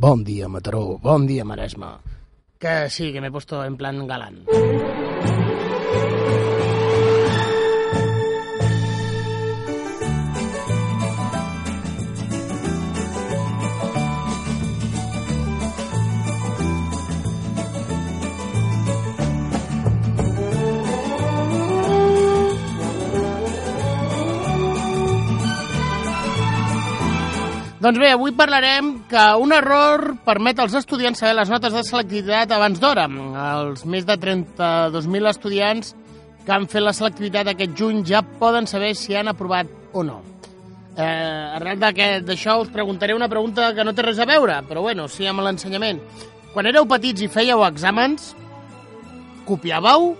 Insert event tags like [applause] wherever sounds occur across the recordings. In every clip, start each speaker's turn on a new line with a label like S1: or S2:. S1: Bon dia, Mataró. Bon dia, Maresme.
S2: Que sí, que me he puesto en plan galán. Doncs bé, avui parlarem que un error permet als estudiants saber les notes de selectivitat abans d'hora. Els més de 32.000 estudiants que han fet la selectivitat aquest juny ja poden saber si han aprovat o no. Eh, arrel d'aquest- d'això us preguntaré una pregunta que no té res a veure, però bueno, sí amb l'ensenyament. Quan éreu petits i fèieu exàmens, copiàveu?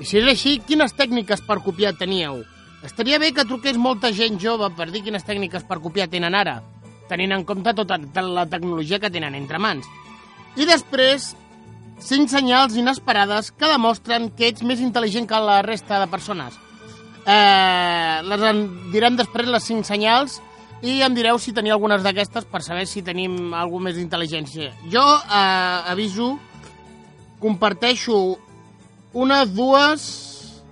S2: I si és així, quines tècniques per copiar teníeu? Estaria bé que truqués molta gent jove per dir quines tècniques per copiar tenen ara, tenint en compte tota tota la tecnologia que tenen entre mans. I després, cinc senyals inesperades que demostren que ets més intel·ligent que la resta de persones. Eh, les en direm després les cinc senyals i em direu si teniu algunes d'aquestes per saber si tenim algú més d'intel·ligència. Jo eh, aviso, comparteixo una, dues,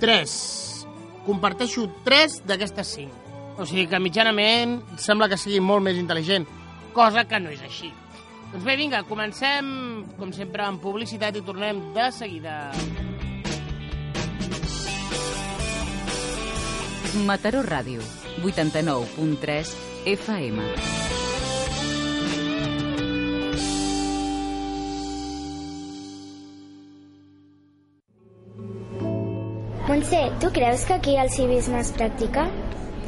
S2: tres. Comparteixo tres d'aquestes cinc. O sigui que mitjanament sembla que sigui molt més intel·ligent, cosa que no és així. Doncs bé, vinga, comencem, com sempre, amb publicitat i tornem de seguida.
S3: Mataró Ràdio, 89.3 FM.
S4: Montse, tu creus que aquí el civisme es practica?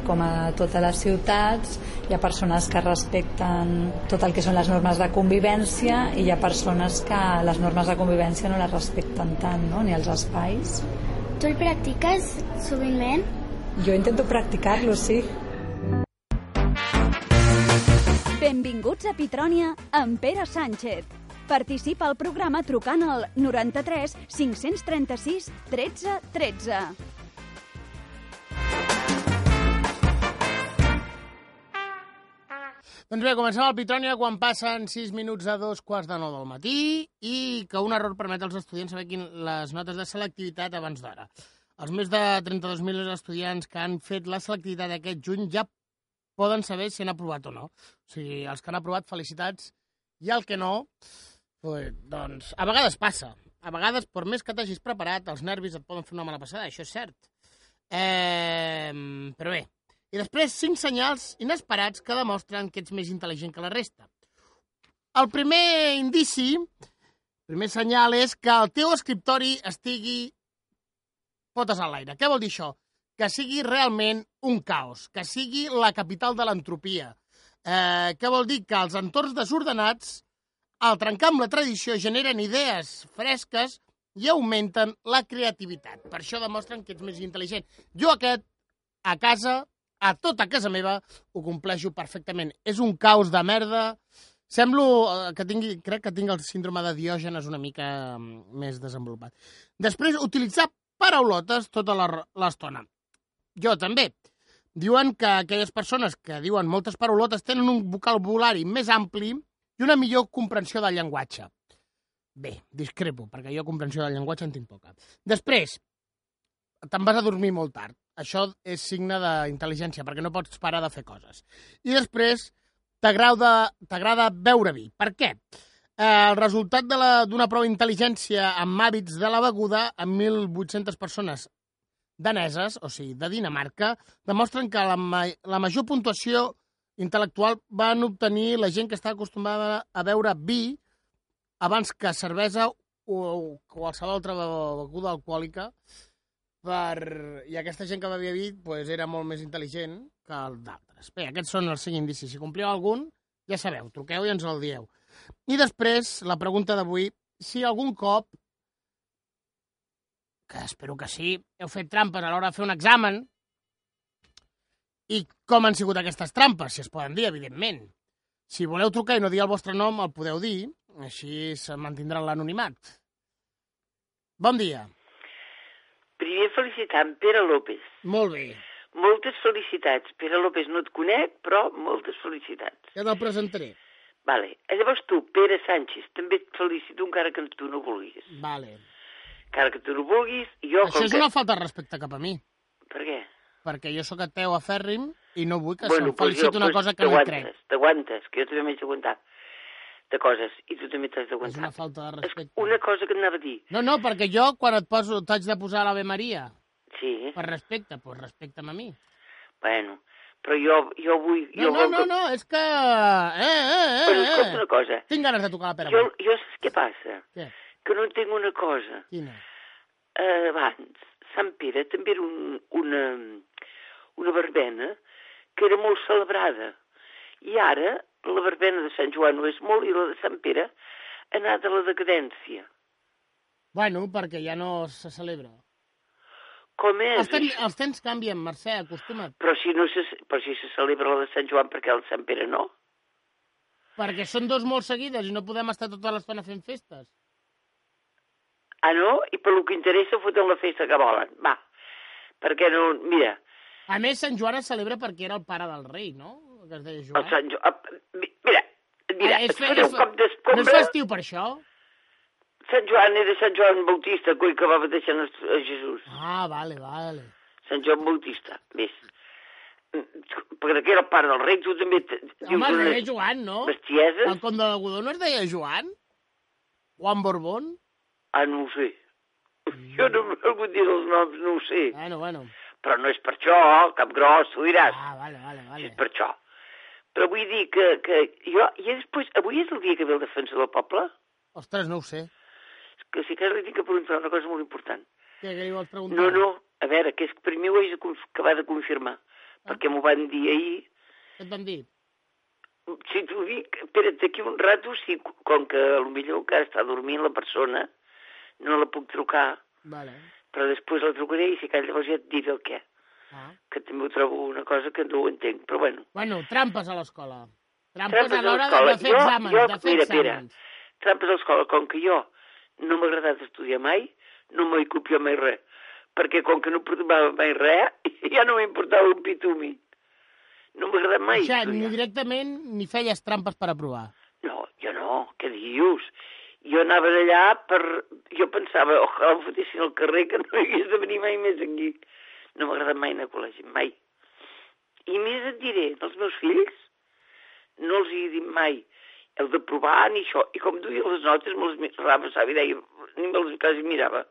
S5: com a totes les ciutats, hi ha persones que respecten tot el que són les normes de convivència i hi ha persones que les normes de convivència no les respecten tant, no? ni els espais.
S4: Tu el practiques sovintment?
S5: Jo intento practicar-lo, sí.
S6: Benvinguts a Pitrònia amb Pere Sánchez. Participa al programa trucant al 93 536 13 13.
S2: Doncs bé, comencem al Pitrònia quan passen 6 minuts a dos quarts de 9 del matí i que un error permet als estudiants saber quin, les notes de selectivitat abans d'hora. Els més de 32.000 estudiants que han fet la selectivitat aquest juny ja poden saber si han aprovat o no. O sigui, els que han aprovat, felicitats, i el que no, pues, doncs, a vegades passa. A vegades, per més que t'hagis preparat, els nervis et poden fer una mala passada, això és cert. Eh, però bé, i després, cinc senyals inesperats que demostren que ets més intel·ligent que la resta. El primer indici, el primer senyal és que el teu escriptori estigui potes a l'aire. Què vol dir això? Que sigui realment un caos, que sigui la capital de l'entropia. Eh, què vol dir? Que els entorns desordenats, al trencar amb la tradició, generen idees fresques i augmenten la creativitat. Per això demostren que ets més intel·ligent. Jo aquest, a casa, a tota casa meva, ho compleixo perfectament. És un caos de merda. Semblo eh, que tingui, crec que tinc el síndrome de diògenes una mica mm, més desenvolupat. Després, utilitzar paraulotes tota la- l'estona. Jo també. Diuen que aquelles persones que diuen moltes paraulotes tenen un vocabulari més ampli i una millor comprensió del llenguatge. Bé, discrepo, perquè jo comprensió del llenguatge en tinc poca. Després, te'n vas a dormir molt tard. Això és signe d'intel·ligència, perquè no pots parar de fer coses. I després, t'agrada t'agrada beure vi. Per què? Eh, el resultat de la- d'una prova d'intel·ligència amb hàbits de la beguda amb 1.800 persones daneses, o sigui, de Dinamarca, demostren que la, ma la major puntuació intel·lectual van obtenir la gent que està acostumada a beure vi abans que cervesa o qualsevol altra beguda alcohòlica per... i aquesta gent que bevia vi pues, era molt més intel·ligent que el d'altres. Bé, aquests són els cinc indicis. Si compliu algun, Ja sabeu, truqueu i ens el dieu. I després, la pregunta d'avui, si algun cop, que espero que sí, heu fet trampes a l'hora de fer un examen, i com han sigut aquestes trampes, si es poden dir, evidentment. Si voleu trucar i no dir el vostre nom, el podeu dir, així se mantindrà l'anonimat. Bon dia.
S7: Primer felicitant Pere López.
S2: Molt bé.
S7: Moltes felicitats. Pere López no et conec, però moltes felicitats.
S2: Ja te'l presentaré.
S7: Vale. Eh, Llavors tu, Pere Sánchez, també et felicito encara que tu no vulguis.
S2: Vale.
S7: Encara que tu no vulguis, jo...
S2: Això
S7: com
S2: és
S7: que...
S2: una falta de respecte cap a mi,
S7: Per què? perquè
S2: jo sóc ateu afèrrim i no vull que
S7: Bueno,
S2: se'm feliciti
S7: jo-
S2: una
S7: doncs
S2: cosa que no hi crec.
S7: t'aguantes, T'aguantes, que jo també m'haig d'aguantar de coses, i tu també t'has
S2: És
S7: d'aguantar.
S2: una falta de respecte.
S7: Una cosa que et anava a dir,
S2: No, no, perquè jo quan et poso t'haig de posar l'Ave Maria,
S7: sí,
S2: per respecte, doncs respecta'm a mi.
S7: bueno, però jo, jo vull...
S2: No,
S7: jo
S2: no,
S7: vol
S2: no,
S7: que-
S2: no, és que... Eh, eh,
S7: Però
S2: eh,
S7: escolta
S2: eh.
S7: una cosa,
S2: Tinc ganes de tocar la pera.
S7: jo, jo saps què passa?
S2: Què?
S7: Que no entenc una cosa.
S2: Quina?
S7: eh, abans, Sant Pere també era un, una, una verbena que era molt celebrada. I ara la verbena de Sant Joan ho és molt i la de Sant Pere ha anat a la decadència.
S2: Bueno, perquè ja no se celebra.
S7: Com és?
S2: Els temps, els temps canvien, Mercè, acostuma't.
S7: Però si, no se, però si se celebra la de Sant Joan, perquè el de Sant Pere no?
S2: Perquè són dos molt seguides i no podem estar tota l'estona fent festes.
S7: Ah, no? I pel que interessa foten la festa que volen. Va, perquè no... Mira,
S2: A més, Sant Joan es celebra perquè era el pare del rei, no? Que es deia
S7: el
S2: Joan.
S7: Sant Joan... mi- Mira, mira,
S2: Ah,
S7: ah,
S2: és
S7: et
S2: fe-
S7: faré
S2: és
S7: un
S2: fe-
S7: cop
S2: No és
S7: d'escombra...
S2: festiu per això?
S7: Sant Joan era Sant Joan Bautista, coi, que va batejar a Jesús.
S2: Ah, vale, vale.
S7: Sant Joan Bautista, més. Mm, Perquè era part del rei, tu també... te-
S2: Home, es
S7: unes
S2: deia Joan, no?
S7: Bestieses?
S2: El conde de Godó no es deia Joan? Juan Borbón?
S7: Ah, no ho sé. Jo no m'he volgut dir els noms, no ho sé.
S2: Bueno, bueno.
S7: Però no és per això, cap gros, tu diràs.
S2: Ah, vale, vale,
S7: És
S2: vale.
S7: per això. Però vull dir que, que jo... I després, avui és el dia que ve el defensor del poble?
S2: Ostres, no ho sé.
S7: Que si que li tinc que preguntar una cosa molt important.
S2: Què, què li vols preguntar?
S7: No, no, a veure, que és que primer ho haig de conf- acabar de confirmar.
S2: Ah.
S7: Perquè m'ho van dir ahir
S2: Què et van dir?
S7: si t'ho dic, espera't, d'aquí un rato, si, com que a lo millor encara està dormint la persona, no la puc trucar,
S2: Vale.
S7: però després la trucaré i si cal llavors ja et diré el què,
S2: Ah.
S7: que també ho trobo una cosa que no ho entenc, però bueno.
S2: Bueno, trampes a l'escola. Trampes,
S7: Trampes
S2: a
S7: a
S2: l'hora de,
S7: l'escola.
S2: de fer
S7: Jo-
S2: exàmens,
S7: jo-
S2: de fer
S7: mira, mira.
S2: exàmens.
S7: Trampes a l'escola, com que jo no m'ha agradat estudiar mai, no m'he copiat mai res, perquè com que no portava mai res, [laughs] ja no m'importava un pitumi. No m'ha agradat mai
S2: O sigui, ni
S7: estudiar.
S2: directament ni feies trampes per aprovar.
S7: No, jo no, què dius? Jo anava d'allà per... Jo pensava, ojalà em fotessin al carrer que no hagués de venir mai més aquí. No m'ha agradat mai anar a col·legi, mai. I més et diré, els meus fills no els he dit mai heu de provar ni això. I com duia les notes, me les mirava, sabi, deia, ni me les quasi mirava.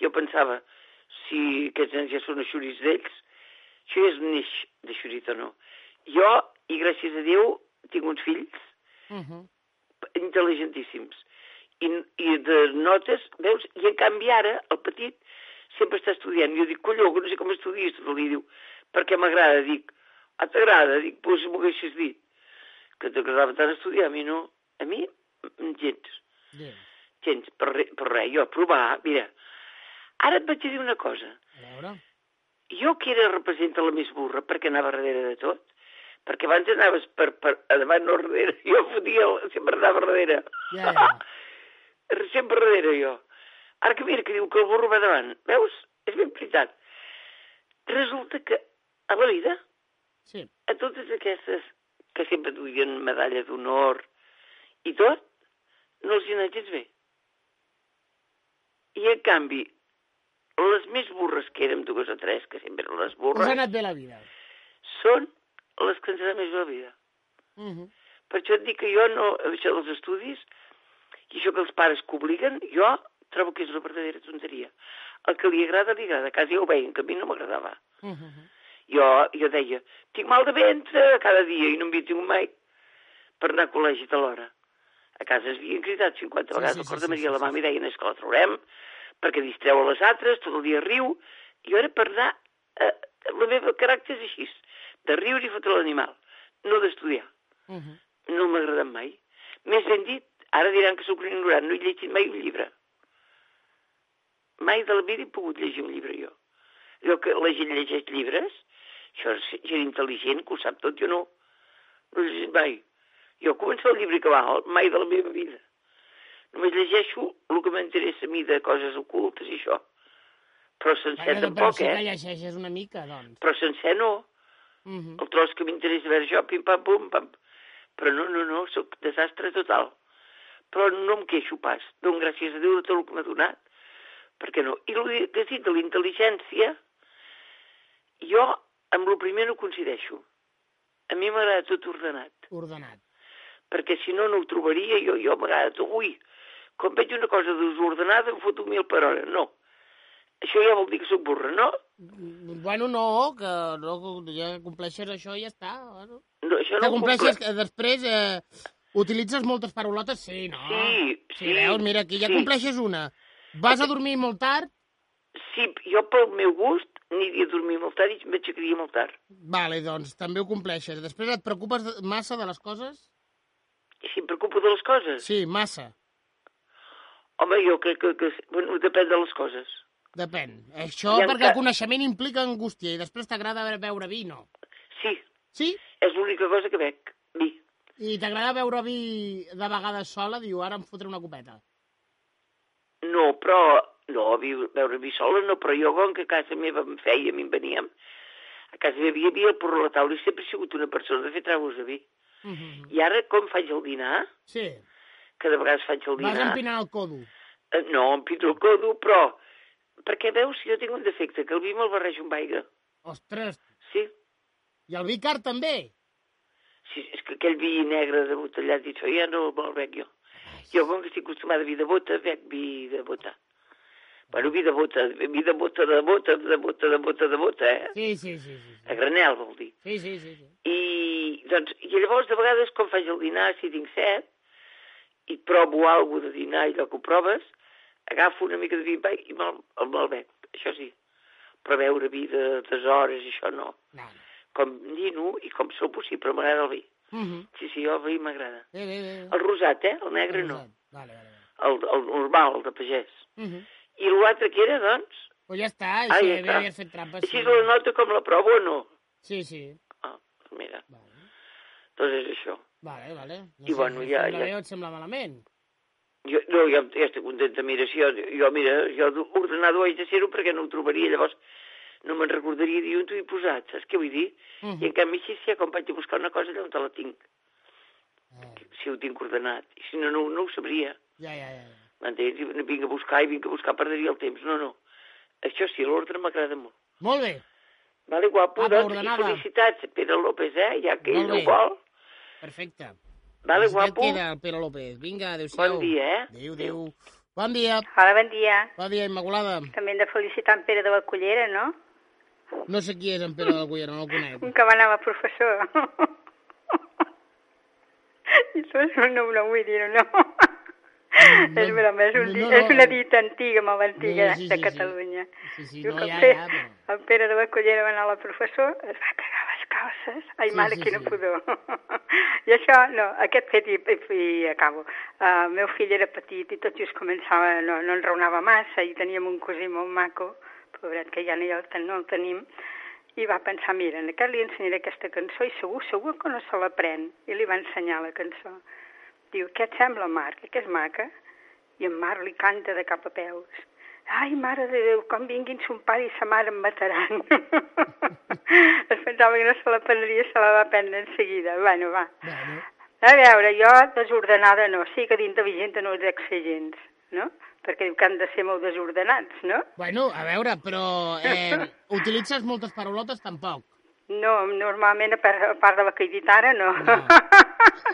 S7: Jo pensava, si aquests nens ja són aixurits d'ells, això ja és un eix de xurit o no. Jo, i gràcies a Déu, tinc uns fills
S2: Uh -huh.
S7: intel·ligentíssims. I, I de notes, veus? I en canvi ara, el petit, sempre està estudiant. I jo dic, colló, que no sé com estudies. Però li diu, perquè m'agrada. Dic, ah, t'agrada? Dic, doncs m'ho haguessis dit. Que t'agradava tant estudiar, a mi no. A mi, mm, gens.
S2: Bé,
S7: Gens, per, re, per res. Jo, provar, mira. Ara et vaig a dir una cosa.
S2: a veure...
S7: Jo que era representa la més burra, perquè anava darrere de tot, perquè abans anaves per, per a davant o darrere, [laughs] jo fotia, el- sempre anava darrere.
S2: Ja, ja.
S7: sempre darrere jo. Ara que mira, que diu que el burro va davant, veus? És ben veritat. Resulta que a la vida,
S2: Sí.
S7: a totes aquestes que sempre duien medalla d'honor i tot, no els hi ha anat gens bé. I en canvi, les més burres que érem dues o tres, que sempre eren
S2: Us
S7: les
S2: ha
S7: burres,
S2: anat bé la vida.
S7: són les que ens han anat més bé la vida.
S2: Uh -huh.
S7: Per això et dic que jo no, això dels estudis, i això que els pares que obliguen, jo trobo que és una verdadera tonteria. El que li agrada, li agrada. A casa ja ho veien, que a mi no m'agradava.
S2: Uh -huh.
S7: Jo, jo deia, tinc mal de ventre cada dia i no m'havia tingut mai per anar a col·legi de l'hora. A casa ens havien cridat 50
S2: Sí,
S7: vegades,
S2: sí,
S7: sí,
S2: sí,
S7: recorda
S2: sí,
S7: sí, Maria,
S2: sí,
S7: sí, la
S2: sí,
S7: mama i deien, és que la traurem, perquè distreu a les altres, tot el dia riu. Jo era per anar... Eh, el meu caràcter és així, de riure i fotre l'animal, no d'estudiar.
S2: Uh -huh.
S7: No m'ha agradat mai. Més ben dit, ara diran que sóc un ignorant, no he llegit mai un llibre. Mai de la vida he pogut llegir un llibre jo. Allò que la gent llegeix llibres, això és gent intel·ligent que ho sap tot, jo no. No he llegit mai. Jo començo el llibre que va, mai de la meva vida. Només llegeixo el que m'interessa a mi de coses ocultes i això. Però sencer
S2: Vaja, però
S7: tampoc,
S2: sí que
S7: eh?
S2: llegeixes una mica, doncs.
S7: Però sencer no.
S2: Mhm.
S7: el tros que m'interessa veure jo, pim, pam, pum, pam. Però no, no, no, sóc desastre total. Però no em queixo pas. Dono gràcies a Déu de tot el que m'ha donat. Perquè no. I el que has dit de la intel·ligència, jo amb el primer no coincideixo. A mi m'agrada tot ordenat
S2: Ordenat.
S7: perquè si no, no ho trobaria. Jo, jo m'agrada tot. Ui, quan veig una cosa desordenada em foto mil per hora. No. Això ja vol dir que sóc burra, no?
S2: Mm, Bueno, no, que no, que ja compleixes això i ja està. Bueno.
S7: no
S2: Que
S7: això no ho
S2: compleixes,
S7: comple-
S2: que després eh, utilitzes moltes paraulotes, sí, no?
S7: Sí,
S2: Si
S7: sí,
S2: veus, mira, aquí ja
S7: sí.
S2: compleixes una. Vas a dormir molt tard?
S7: Sí, jo pel meu gust aniria a dormir molt tard i m'aixecaria molt tard.
S2: Vale, doncs també ho compleixes. Després et preocupes de- massa de les coses?
S7: I si em preocupo de les coses?
S2: Sí, massa.
S7: Home, jo crec que, que bueno, depèn de les coses.
S2: Depèn. eh? Això
S7: I en
S2: perquè el
S7: ca-
S2: coneixement implica angústia i després t'agrada veure- beure vi, no?
S7: Sí,
S2: Sí?
S7: és l'única cosa que veig. Vi.
S2: I t'agrada beure vi de vegades sola? Diu, ara em fotré una copeta.
S7: No, però... No, vi, veure vi sola no, però jo com que a casa meva em feia, a mi em veníem, a casa meva hi havia el porro a la taula i sempre he sigut una persona de fer tragos de vi.
S2: Mhm.
S7: I ara, com faig el dinar,
S2: Sí,
S7: que de vegades faig el
S2: vas
S7: dinar...
S2: empinant el codo.
S7: Eh, No, empino el codo, però... Perquè veus, jo tinc un defecte, que el vi me'l barrejo amb aigua.
S2: Ostres,
S7: Sí,
S2: i el vi car també?
S7: Sí, és que aquell vi negre de botellat, això ja no el vol bec jo. Jo, com que estic acostumada a vi de bota, bec vi de bota. Bueno, vi de bota, vi de bota, de bota, de bota, de bota, de bota, eh?
S2: Sí, sí, sí. sí.
S7: A granel, vol dir.
S2: Sí, sí, sí. sí.
S7: I, doncs, i llavors, de vegades, quan faig el dinar, si tinc set, i provo alguna de dinar i allò que ho proves, agafo una mica de vi amb aigua i me'l me me'l bec, això sí. Però beure vi de deshores, això no.
S2: No, no.
S7: Com dino i com sopo, sí, però m'agrada el vi.
S2: Mhm.
S7: Sí, sí, jo el vi m'agrada.
S2: Bé, bé, bé.
S7: El rosat, eh? El negre no.
S2: Vale, vale, vale.
S7: El, el normal, el de pagès.
S2: Mhm.
S7: I l'altre que era, doncs?
S2: Pues ja està,
S7: Ah,
S2: així,
S7: ja
S2: bé,
S7: està.
S2: havies fet trampes.
S7: Així és la nota com la prova o no?
S2: Sí, sí.
S7: Ah, doncs mira,
S2: Vale,
S7: doncs és això.
S2: vale. vale. No
S7: I bueno,
S2: si et
S7: ja-
S2: sembla
S7: ja-
S2: Bé, o et sembla malament?
S7: Jo, no, jo, jo estic contenta, mira, si jo, jo mira, jo ordenado ho haig de ser-ho perquè no ho trobaria, llavors no me'n recordaria dir on t'ho he posat, saps què vull dir?
S2: Mhm.
S7: I en canvi així, si ja quan vaig a buscar una cosa, allà on te la tinc,
S2: Ah,
S7: si ho tinc ordenat, i si no, no, no ho sabria,
S2: Ja, ja, ja. ja.
S7: m'entens? I no vinc a buscar i vinc a buscar, perdria el temps, no, no. Això sí, l'ordre m'agrada molt.
S2: Molt bé,
S7: Vale, guapo,
S2: Apa,
S7: doncs, i
S2: ordenada.
S7: felicitats, Pere López, eh? Ja que ell
S2: Ah, Molt
S7: no
S2: bé.
S7: vol.
S2: perfecte.
S7: Vale,
S2: Felicitat
S7: guapo.
S2: queda el Pere López. Vinga, adéu-siau.
S7: Bon dia, eh?
S2: Adéu, adéu. Bon dia.
S8: Hola, bon dia.
S2: Bon dia, Immaculada.
S8: També hem de felicitar en Pere de la Cullera, no?
S2: No sé qui és en Pere de la Cullera, no el conec.
S8: Un que va anar amb el [laughs] professor. I tu és un nom, no vull dir-ho, no?
S2: no,
S8: és broma, és, un,
S2: Mm, no,
S8: di-
S2: no,
S8: és una
S2: no.
S8: dita antiga, molt antiga,
S2: No, sí,
S8: de
S2: sí, sí.
S8: Catalunya.
S2: Sí, sí,
S8: Diu
S2: no,
S8: que
S2: ja,
S8: el, Pere,
S2: ja, però...
S8: el Pere de la Cullera va anar al professor, es va cagar les calces. Ai,
S2: Sí,
S8: mare,
S2: sí,
S8: quina
S2: sí.
S8: [laughs] pudor. I això, no, aquest fet, i, i, i acabo. Uh, el meu fill era petit i tot just començava, no, no enraonava massa i teníem un cosí molt maco, pobret, que ja no, ja el, ten, no el tenim, i va pensar, mira, en aquest li ensenyaré aquesta cançó i segur, segur que no se l'aprèn. I li va ensenyar la cançó. Diu, què et sembla, Marc? Que és maca? I en Marc li canta de cap a peus. Ai, mare de Déu, quan vinguin son pare i sa mare em mataran. [laughs] es pensava que no se la prendria, se la va prendre en seguida. Bueno, va.
S2: Bueno,
S8: A veure, jo desordenada no, sí que d'intel·ligent no dec ser gens, no? Perquè diu que han de ser molt desordenats, no?
S2: bueno, a veure, però eh,
S7: [laughs]
S2: utilitzes moltes paraulotes tampoc.
S8: No, normalment, a part, a part de la que he dit ara, no.
S2: No.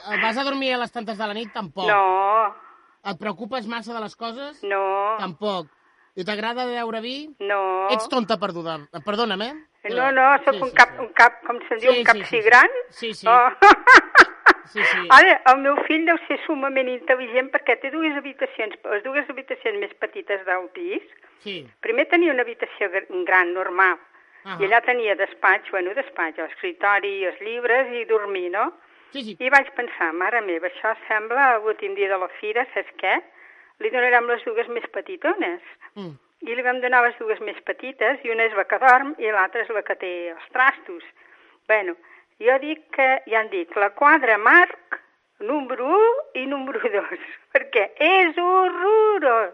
S2: Eh, Vas a dormir a les tantes de la nit? Tampoc.
S8: No,
S2: Et preocupes massa de les coses?
S8: no,
S2: Tampoc. I t'agrada beure vi?
S8: no.
S2: Ets tonta perduda. Eh, Perdona'm, eh?
S8: No, no, sóc
S2: Sí,
S8: un
S2: sí,
S8: cap,
S2: sí.
S8: un cap, com se'n diu,
S2: Sí,
S8: un cap
S2: sí, sí,
S8: si
S2: sí.
S8: gran.
S2: Sí, sí.
S8: Oh.
S2: Sí, sí.
S8: Ara, el meu fill deu ser sumament intel·ligent perquè té dues habitacions, les dues habitacions més petites del pis.
S2: Sí.
S8: Primer tenia una habitació gr- gran, normal,
S2: Ah,
S8: i allà tenia despatx, bueno, despatx, l'escriptori, els llibres i dormir, no?
S2: Sí, sí.
S8: I vaig pensar, mare meva, això sembla l'últim dia de la fira, saps què? Li donarem les dues més eh?" petitones.
S2: Mm.
S8: I li vam donar les dues més petites, i una és la que dorm i l'altra és la que té els trastos. bueno, jo dic que, ja en dic, la quadra Marc, número 1 i número 2, [laughs] perquè és horrorós,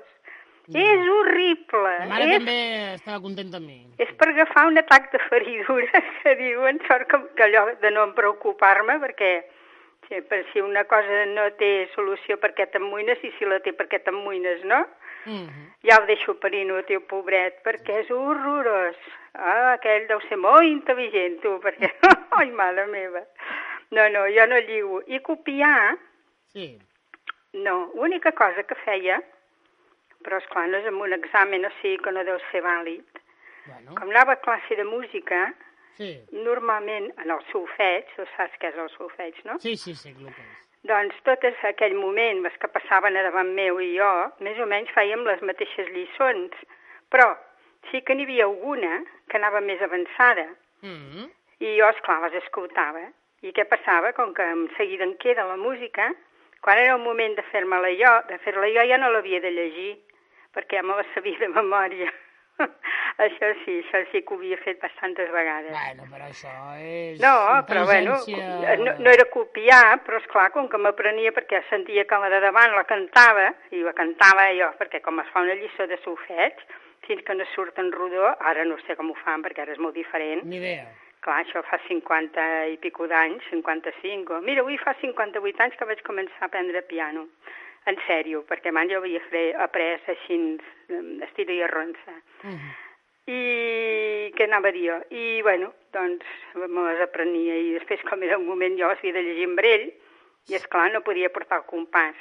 S8: és horrible,
S2: Ma Mm. mare
S8: és
S2: també estava contenta amb mi.
S8: és per agafar un atac de feridura, [laughs] que diuen, sort que, que allò de no em preocupar-me, perquè si, per si una cosa no té solució per què t'amoïnes, i si la té per què t'amoïnes, no?
S2: Mm
S8: Ja ho deixo per inútil, pobret, perquè és horrorós. Ah, aquell deu ser molt intel·ligent, tu, perquè... [laughs] Ai, mare meva. No, no, jo no lligo. I copiar,
S2: Sí.
S8: no, l'única cosa que feia, però esclar, no és amb un examen, o sigui que no deu ser vàlid.
S2: Bueno,
S8: Com anava a classe de música,
S2: sí.
S8: normalment en el solfeig, tu saps què és el solfeig, no?
S2: Sí, sí, sí, el que és.
S8: Doncs tot és aquell moment, les que passaven a davant meu i jo, més o menys fèiem les mateixes lliçons, però sí que n'hi havia alguna que anava més avançada
S2: Mm
S8: i jo, esclar, les escoltava. I què passava? Com que en seguida em queda la música, quan era el moment de fer-me-la jo, de fer-la jo ja no l'havia de llegir, perquè ja me la sabia de memòria. [laughs] això sí, això sí que ho havia fet bastantes vegades.
S2: Bueno, però això és...
S8: No, però bueno,
S2: intel·ligència-
S8: no, no era copiar, però és clar com que m'aprenia perquè sentia que la de davant la cantava, i la cantava jo, perquè com es fa una lliçó de solfeig, fins que no surt en rodó, ara no sé com ho fan perquè ara és molt diferent,
S2: Ni idea.
S8: clar, això fa 50 i pico d'anys, 55, o... mira, avui fa 58 anys que vaig començar a aprendre piano, en sèrio, perquè abans jo havia fre... après així, em, estil i arronsa.
S2: Mm.
S8: I què anava a dir jo? I, bueno, doncs me les aprenia i després, com era un moment, jo les havia de llegir amb ell i, és clar no podia portar el compàs.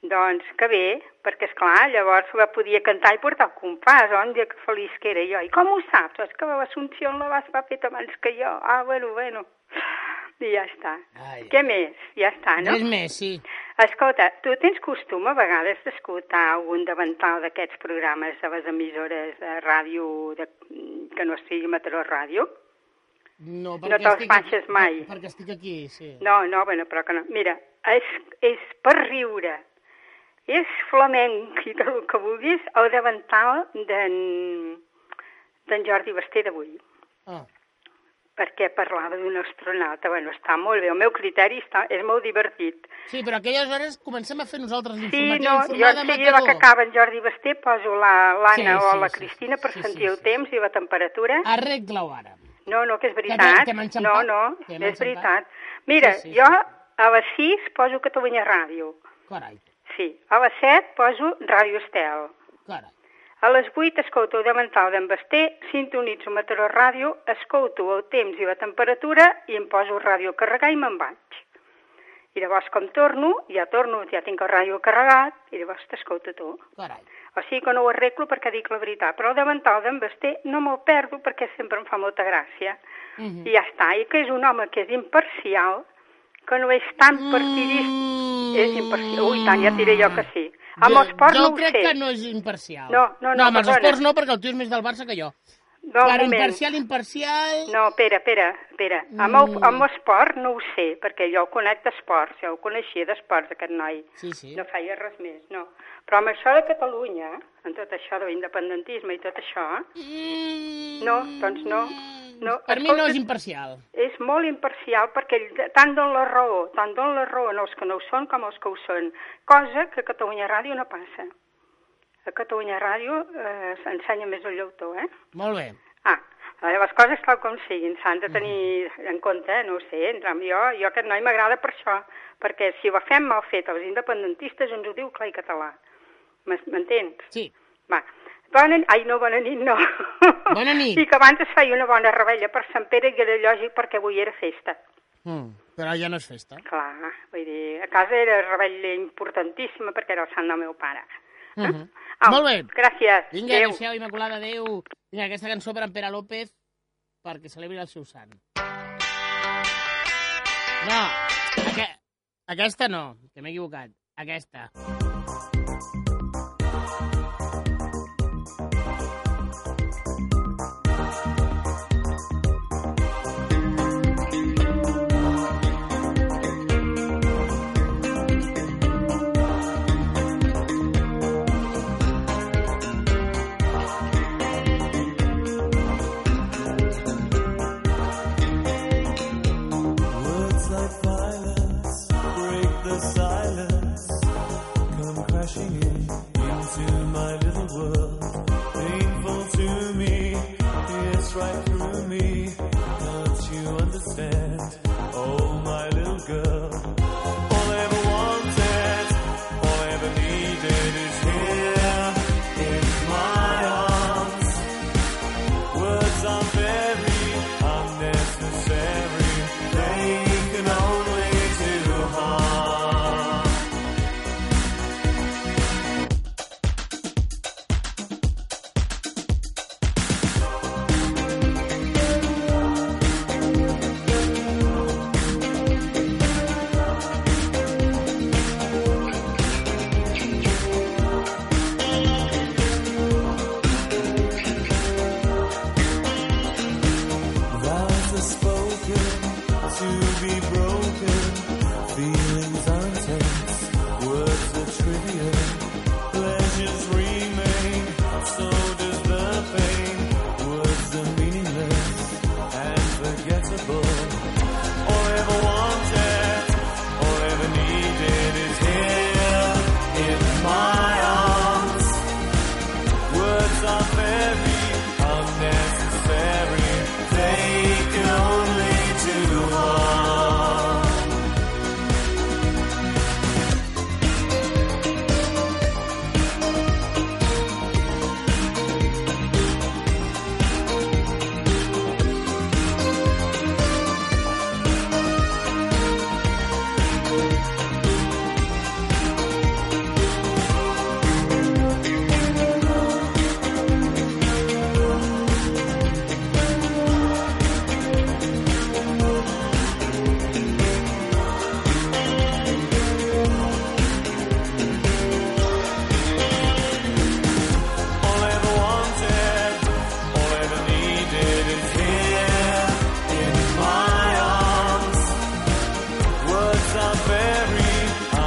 S8: Doncs que bé, perquè, és clar llavors va podia cantar i portar el compàs, on dia que feliç que era jo. I com ho saps? És que l'Assumpció la vas va fet abans que jo. Ah, bueno, bueno. I ja està.
S2: Ai.
S8: Què més? Ja està, no?
S2: Res més, sí.
S8: Escolta, tu tens costum a vegades d'escoltar algun davantal d'aquests programes de les emissores de ràdio de, que no sigui Mataró Ràdio?
S2: No,
S8: No te'ls baixes mai.
S2: Perquè estic aquí, sí.
S8: No, no, bueno, però que no. Mira, és, és per riure. És flamenc i tot el que vulguis, el davantal d'en d'en Jordi Basté d'avui.
S2: Ah,
S8: perquè parlava d'un astronauta. Bueno, està molt bé, el meu criteri està, és molt divertit.
S2: sí, però a aquelles hores comencem a fer nosalles
S8: Sí,
S2: l'informatiu
S8: no, jo
S2: informal de
S8: enseguida va que
S2: Mataró.
S8: acaba en Jordi Basté poso la- l'Anna
S2: Sí,
S8: la, sí,
S2: sí,
S8: o la
S2: sí,
S8: Cristina
S2: sí,
S8: per
S2: sí,
S8: sentir
S2: sí,
S8: el
S2: sí.
S8: temps i la temperatura.
S2: Arregla-ho ara.
S8: No, no, que és
S2: Que
S8: veritat.
S2: t'hem
S8: no,
S2: enxampat,
S8: no,
S2: que hem
S8: és
S2: enxampat.
S8: veritat. Mira,
S2: Sí, sí,
S8: jo a les 6 poso Catalunya Ràdio.
S2: Carai,
S8: Sí, a les 7 poso Ràdio Estel.
S2: carai.
S8: A les 8 escolto el Demental d'en Basté, sintonitzo Mataró Ràdio, escolto el temps i la temperatura i em poso el ràdio a carregar i me'n vaig. I llavors com torno, ja torno, ja tinc el ràdio carregat i llavors t'escolto tu.
S2: Carai.
S8: O sigui que no ho arreglo perquè dic la veritat, però el davantal d'en Basté no me'l perdo perquè sempre em fa molta gràcia.
S2: Mhm.
S8: I ja està, i que és un home que és imparcial, que no és tan partidista... És imparcial. Ui, tant, ja et diré jo que sí. Amb
S2: Mm. jo,
S8: els esports
S2: jo
S8: no ho
S2: crec
S8: sé.
S2: que no és imparcial.
S8: No, no, no,
S2: no amb els
S8: perdona.
S2: esports no, perquè el tio és més del Barça que jo.
S8: No, un
S2: però
S8: moment.
S2: imparcial, imparcial... Mm.
S8: No, espera, espera, espera. Amb, el, amb l'esport no ho sé, perquè jo el conec d'esports, jo el coneixia d'esports, aquest noi.
S2: Sí, sí.
S8: No feia res més, no. Però amb això de Catalunya, en tot això de l'independentisme i tot això, no, doncs no. no.
S2: Mm. per mi no
S8: escolta,
S2: és imparcial.
S8: és molt imparcial perquè ell tant don la raó, tant don la raó en els que no ho són com els que ho són, cosa que a Catalunya Ràdio no passa. A Catalunya Ràdio eh, s'ensenya més el llautor, eh?
S2: Molt bé.
S8: Ah, eh, les coses tal com siguin, s'han de tenir
S2: Mm-hmm.
S8: en compte, eh? no ho sé, entre jo, jo aquest noi m'agrada per això, perquè si ho fem mal fet els independentistes ens ho diu clar i català. M'es- M'entens?
S2: Sí.
S8: Va. Bona nit. Ai, no, bona nit, no.
S2: Bona nit.
S8: [laughs] I que abans es feia una bona rebella per Sant Pere i era lògic perquè avui era festa.
S2: Mm. Però ja no és festa.
S8: Clar, vull dir, a casa era rebella importantíssima perquè era el sant del meu pare. Eh?
S2: Mhm.
S8: Au,
S2: Molt bé.
S8: Gràcies.
S2: Vinga,
S8: Adéu.
S2: adéu-siau, Immaculada, adéu. Vinga, aquesta cançó per en Pere López perquè celebri el seu sant. No, aqu aquesta no, que m'he equivocat. Aquesta.
S9: the silence come crashing in into my little world. Painful to me, yes, right through me. Can't you understand? Oh, my little girl. All I ever wanted, all I ever needed is here in my arms. Words are very unnecessary. They can only do harm. Vows are spoken to be broken. Feelings are intense. Words are trivial. Pleasures remain. So does the pain. Words are meaningless and forgettable. All I ever wanted, all I ever needed is here in my arms. Words are very unnecessary. They can only do harm. All I ever wanted, all I ever needed is here in my arms. Words are very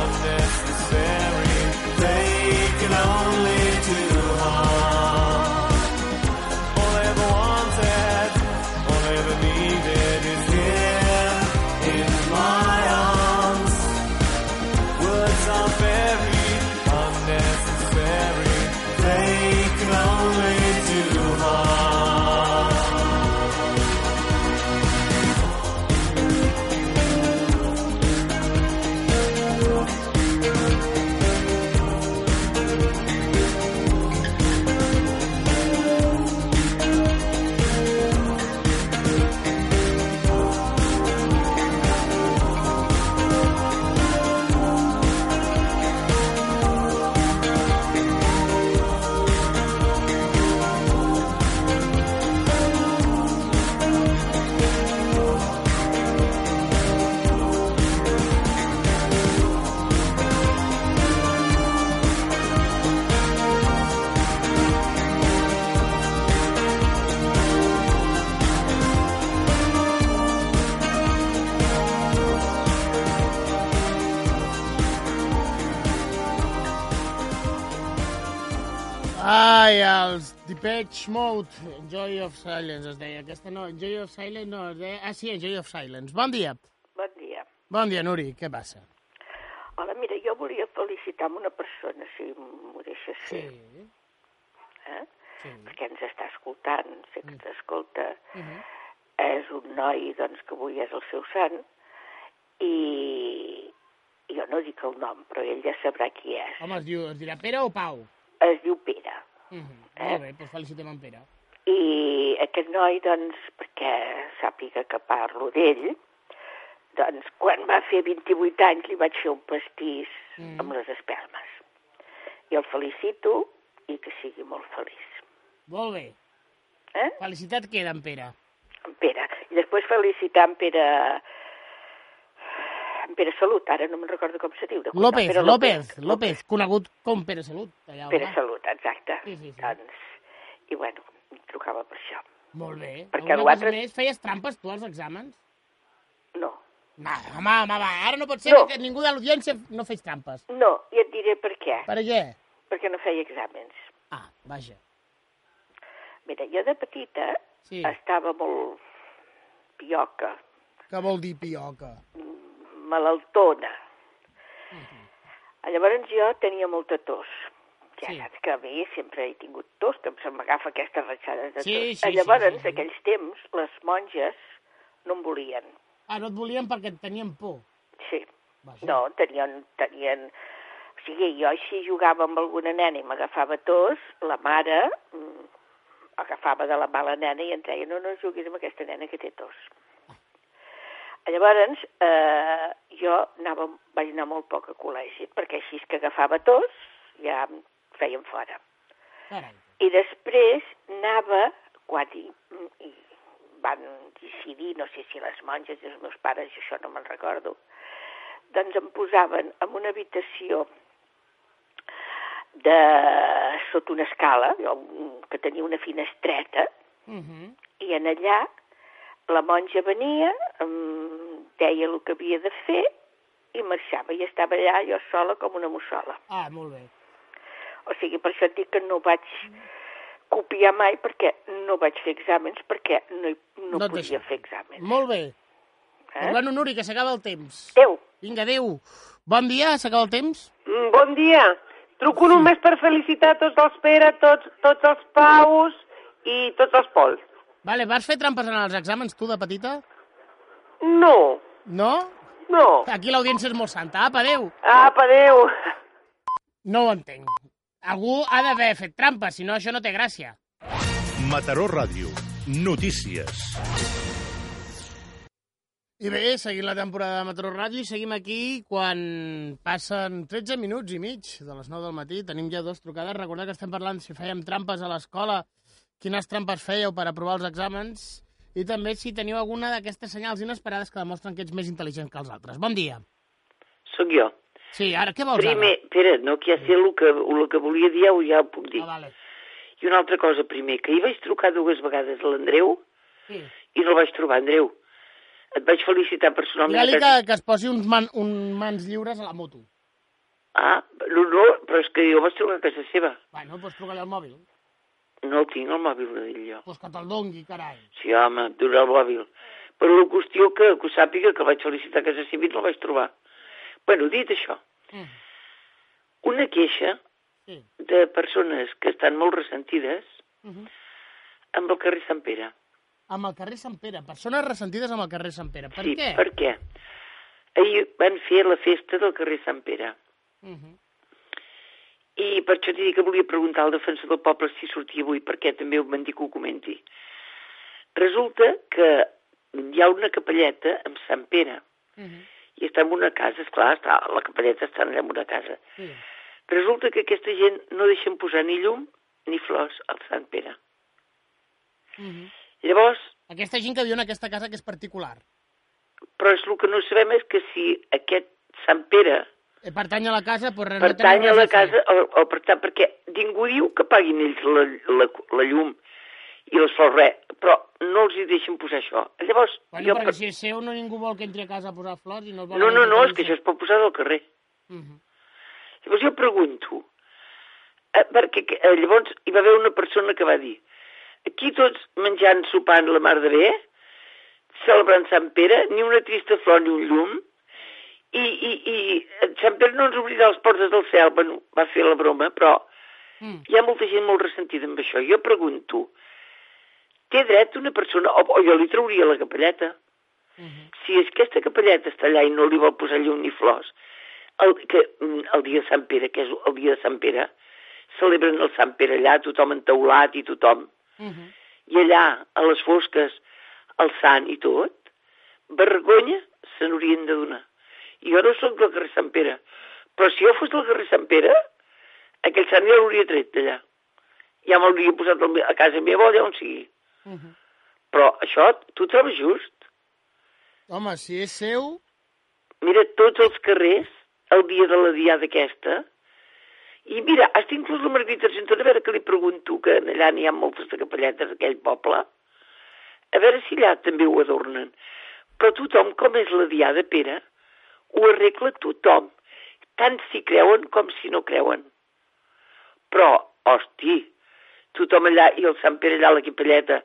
S9: unnecessary. They can only do harm. All I ever wanted, all I ever needed is here in my arms. Words are very unnecessary. They can only do harm.
S2: Ai, els Depeche Mode, Joy of Silence es deia. Aquesta no, Joy of Silence no, es deia... Ah, sí, Joy of Silence. Bon dia.
S10: Bon dia.
S2: Bon dia, Nuri, què passa?
S10: Hola, mira, jo volia felicitar amb una persona, si m'ho deixes
S2: Sí.
S10: ser, eh? perquè ens està escoltant, sé
S2: Mm.
S10: que ens escolta. És un noi, doncs, que avui és el seu sant, i jo no dic el nom, però ell ja sabrà qui és.
S2: Home, es, diu, es dirà Pere o Pau?
S10: Es diu Pere.
S2: Mm Molt bé, doncs felicitem en Pere.
S10: I aquest noi, doncs, perquè sàpiga que parlo d'ell, doncs quan va fer 28 anys li vaig fer un pastís
S2: Mm.
S10: mm. amb les espelmes. I el felicito i que sigui molt feliç.
S2: Molt bé.
S10: Eh?
S2: Felicitat queda en Pere.
S10: En Pere. I després felicitar en Pere... En Pere Salut, ara no me'n recordo com se diu. de cognom,
S2: López,
S10: Pere
S2: López, López, conegut com Pere Salut. Allà,
S10: Pere
S2: va.
S10: Salut, exacte.
S2: Sí, sí, sí.
S10: Doncs, i bueno, em trucava per això.
S2: Molt bé.
S10: Perquè
S2: Alguna cosa
S10: l'altre-
S2: més? Feies trampes tu als exàmens?
S10: No,
S2: No, home, home, va, ara no pot ser
S10: No.
S2: que ningú de l'audiència no fes trampes.
S10: no, i et diré per què.
S2: Per què?
S10: Perquè no feia exàmens.
S2: Ah, vaja.
S10: Mira, jo de petita
S2: Sí.
S10: estava molt pioca,
S2: Què vol dir pioca?
S10: malaltona.
S7: Ah, Llavors jo tenia molta tos. Ja
S2: Sí.
S7: sí. saps que bé, sempre he tingut tos, que se m'agafa aquesta ratxada de tos.
S2: Sí, sí, sí,
S7: Llavors,
S2: sí, sí.
S7: aquells temps, les monges no em volien.
S2: Ah, no et volien perquè et tenien por.
S7: Sí. No, tenien, tenien... O sigui, jo si jugava amb alguna nena i m'agafava tos, la mare mm, agafava de la mà la nena i ens deia no, no juguis amb aquesta nena que té tos. Llavors, eh, jo anava, vaig anar molt poc a col·legi, perquè així que agafava tos ja em feien fora.
S2: Carai.
S7: I després anava, quan hi, hi van decidir, no sé si les monges i els meus pares, jo això no me'n recordo, doncs em posaven en una habitació de sota una escala, jo, un- que tenia una finestreta,
S2: Mhm.
S7: i en allà la monja venia, em deia el que havia de fer i marxava, i estava allà jo sola com una mussola.
S2: Ah, molt bé.
S7: O sigui, per això et dic que no vaig copiar mai perquè no vaig fer exàmens perquè no, hi, no,
S2: No et
S7: no podia
S2: deixaven.
S7: fer exàmens.
S2: Molt bé. Eh?
S7: Eh?
S2: Doncs bueno, Nuri, que s'acaba el temps.
S7: Adéu.
S2: Vinga, adéu. Bon dia, s'acaba el temps.
S11: Mm, Bon dia. Truco només per felicitar tots els Pere, tots, tots els Paus i tots els Pols.
S2: Vale, vas fer trampes en els exàmens, tu, de petita?
S11: No.
S2: No?
S11: No.
S2: Aquí l'audiència és molt santa. Apa, adéu.
S11: Apa, adéu.
S2: No ho entenc. Algú ha d'haver fet trampes, si no això no té gràcia.
S12: Mataró Ràdio. Notícies.
S2: I bé, seguim la temporada de Metro Ràdio i seguim aquí quan passen 13 minuts i mig de les 9 del matí. Tenim ja dues trucades. Recordeu que estem parlant si fèiem trampes a l'escola, quines trampes fèieu per aprovar els exàmens i també si teniu alguna d'aquestes senyals inesperades que demostren que ets més intel·ligent que els altres. Bon dia.
S7: Sóc jo.
S2: Sí, ara què vols,
S7: Primer, espera, no, que ja sé el que, el que volia dir, ja ho, ja ho puc dir.
S2: Ah, vale.
S7: I una altra cosa, primer, que hi vaig trucar dues vegades a l'Andreu
S2: Sí.
S7: i no el vaig trobar, Andreu. Et vaig felicitar personalment.
S2: Digue-li que,
S7: perquè-
S2: que es posi uns, man, uns mans lliures a la moto.
S7: Ah, no, no, però és que jo vaig trucar a casa seva.
S2: Bueno, doncs truca-li al mòbil.
S7: No el tinc, el mòbil, no dic jo.
S2: Doncs que te'l dongui, carai.
S7: Sí, home, et donaré el mòbil. Però la qüestió que, que ho sàpiga que vaig felicitar a casa seva i no el vaig trobar. Bueno, dit això,
S2: Mm.
S7: una queixa
S2: Sí.
S7: de persones que estan molt ressentides
S2: Mhm.
S7: amb el carrer Sant Pere.
S2: Amb el carrer Sant Pere. Persones ressentides amb el carrer Sant Pere. Per
S7: sí,
S2: què?
S7: per què? Ahir van fer la festa del carrer Sant Pere.
S2: Mhm.
S7: I per això t'he dit que volia preguntar al defensor del poble si sortia avui, perquè també ho van dir que ho comenti. Resulta que hi ha una capelleta amb Sant Pere
S2: Mhm.
S7: i està en una casa, esclar, està, la capelleta està allà en una casa.
S2: Sí.
S7: Resulta que aquesta gent no deixen posar ni llum ni flors al Sant Pere.
S2: Mhm.
S7: Llavors,
S2: Aquesta gent que viu en aquesta casa que és particular.
S7: però és el que no sabem és que si aquest Sant Pere
S2: Eh, Pertany a la casa, però res, no tenen
S7: pertany a
S2: res
S7: la
S2: fer.
S7: casa, o, o per tant, perquè ningú diu que paguin ells la, la, la llum i les flors, res, però no els hi deixen posar això. Llavors,
S2: Bueno,
S7: jo...
S2: perquè
S7: Per...
S2: si és seu, no ningú vol que entri a casa a posar flors i no el vol...
S7: No, no, no, és que això es pot posar del carrer.
S2: Mhm.
S7: Llavors jo pregunto, eh, perquè que- eh, llavors hi va haver una persona que va dir aquí tots menjant, sopant la mar de bé, celebrant Sant Pere, ni una trista flor ni un llum, i, i, i eh, Sant Pere no ens obrirà les portes del cel, bueno, va fer la broma, però
S2: Mm.
S7: hi ha molta gent molt ressentida amb això. Jo pregunto, té dret una persona, o, o jo li trauria la capelleta, si aquesta capelleta està allà i no li vol posar llum ni flors, el, que, mm, el dia de Sant Pere, que és el dia de Sant Pere, celebren el Sant Pere allà, tothom entaulat i tothom,
S2: Mhm.
S7: i allà, a les fosques, el sant i tot, vergonya se n'haurien de donar. Jo no sóc del carrer Sant Pere, però si jo fos del carrer Sant Pere, aquell sant ja l'hauria tret d'allà. Ja m'hauria posat al me- a casa meva o allà on sigui.
S2: Mhm.
S7: Però això, tu ho trobes just?
S2: Home, si és seu...
S7: Mira, tots els carrers, el dia de la diada aquesta, i mira, has inclús la Margarita Argentona, a veure que li pregunto, que allà n'hi ha moltes de capelletes d'aquell poble, a veure si allà també ho adornen. Però tothom, com és la diada, Pere, ho arregla tothom, tant si creuen com si no creuen. Però, hosti, tothom allà i el Sant Pere allà a la capelleta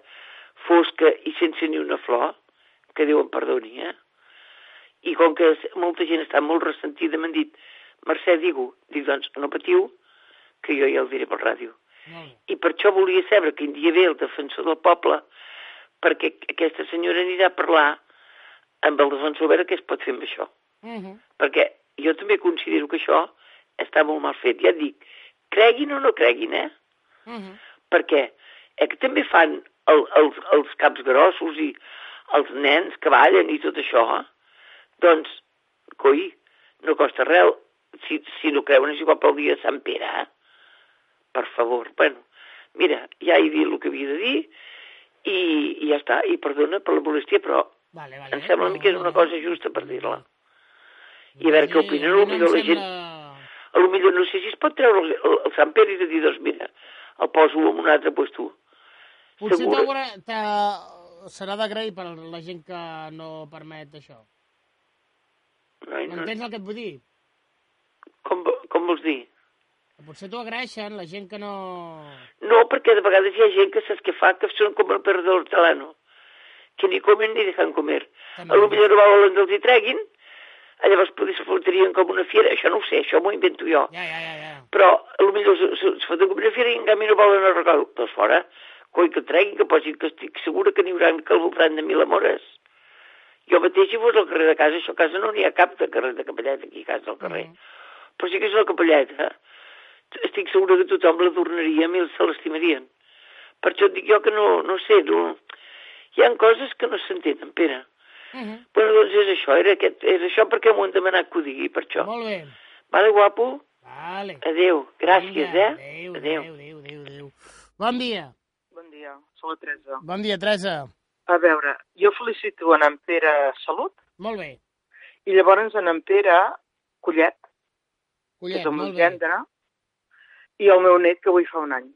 S7: fosca i sense ni una flor, que Déu em perdoni, eh? I com que s- molta gent està molt ressentida, m'han dit, Mercè, diu, diu, doncs, no patiu, que jo ja el diré per ràdio. I per això volia saber quin dia ve el defensor del poble, perquè aquesta senyora anirà a parlar amb el defensor a veure què es pot fer amb això. Perquè jo també considero que això està molt mal fet. Ja et dic, creguin o no creguin, eh? Perquè eh, que també fan el, els, els caps grossos i els nens que ballen i tot això, doncs, coi, no costa res. Si, si no creuen és igual pel dia de Sant Pere, eh? Per favor, bueno, mira, ja he dit el que havia de dir i, i ja està. I perdona per la molèstia, però
S2: vale,
S7: vale, em sembla a mi que és una cosa justa per dir-la. I a veure què opinen, potser la gent... A lo millor no sé si es pot treure el, el, el Sant Pere i de dir, doncs mira, el poso en un altre puesto.
S2: Potser
S7: Segur.
S2: t'haurà... t'ha- Serà d'agrair per la gent que no permet això.
S7: No, no,
S2: M'entens el que et vull dir?
S7: com, vo- com vols dir?
S2: Potser t'ho agraeixen, la gent que no...
S7: No, perquè de vegades hi ha gent que saps què fa, que són com el perro del hortelano, que ni comen ni deixen comer. A lo millor no volen que els hi treguin, eh, llavors poder se fotrien com una fiera, això no ho sé, això m'ho invento jo.
S2: Ja, ja, ja, ja.
S7: Però a lo millor se, se, se foten com una fiera i en canvi no volen arreglar-ho. Doncs fora, coi, que el treguin, que posin, que estic segura que n'hi haurà que al voltant de mil amores. Jo mateix hi fos al carrer de casa, això a casa no n'hi ha cap de carrer de capelleta aquí a casa, al carrer. Però sí que és la capelleta. Estic segura que tothom la tornaria, a mi se l'estimarien. Per això et dic jo que no, no sé, no... hi han coses que no s'entenen, Pere. Bueno, doncs és això, era aquest, és això perquè m'ho han demanat que ho digui, per això.
S2: Molt bé.
S7: Vale, guapo?
S2: Vale.
S7: Adéu, gràcies,
S2: Vinga,
S7: eh?
S2: Adéu, adéu, adéu, adéu, adéu. Bon dia.
S13: Bon dia, sou la Teresa.
S2: Bon dia, Teresa.
S13: A veure, jo felicito en, en Pere Salut
S2: Molt bé.
S13: i llavors en, en Pere Collet, que
S2: Collet,
S13: és el meu
S2: molt bé.
S13: gendre, i el meu net que avui fa un any.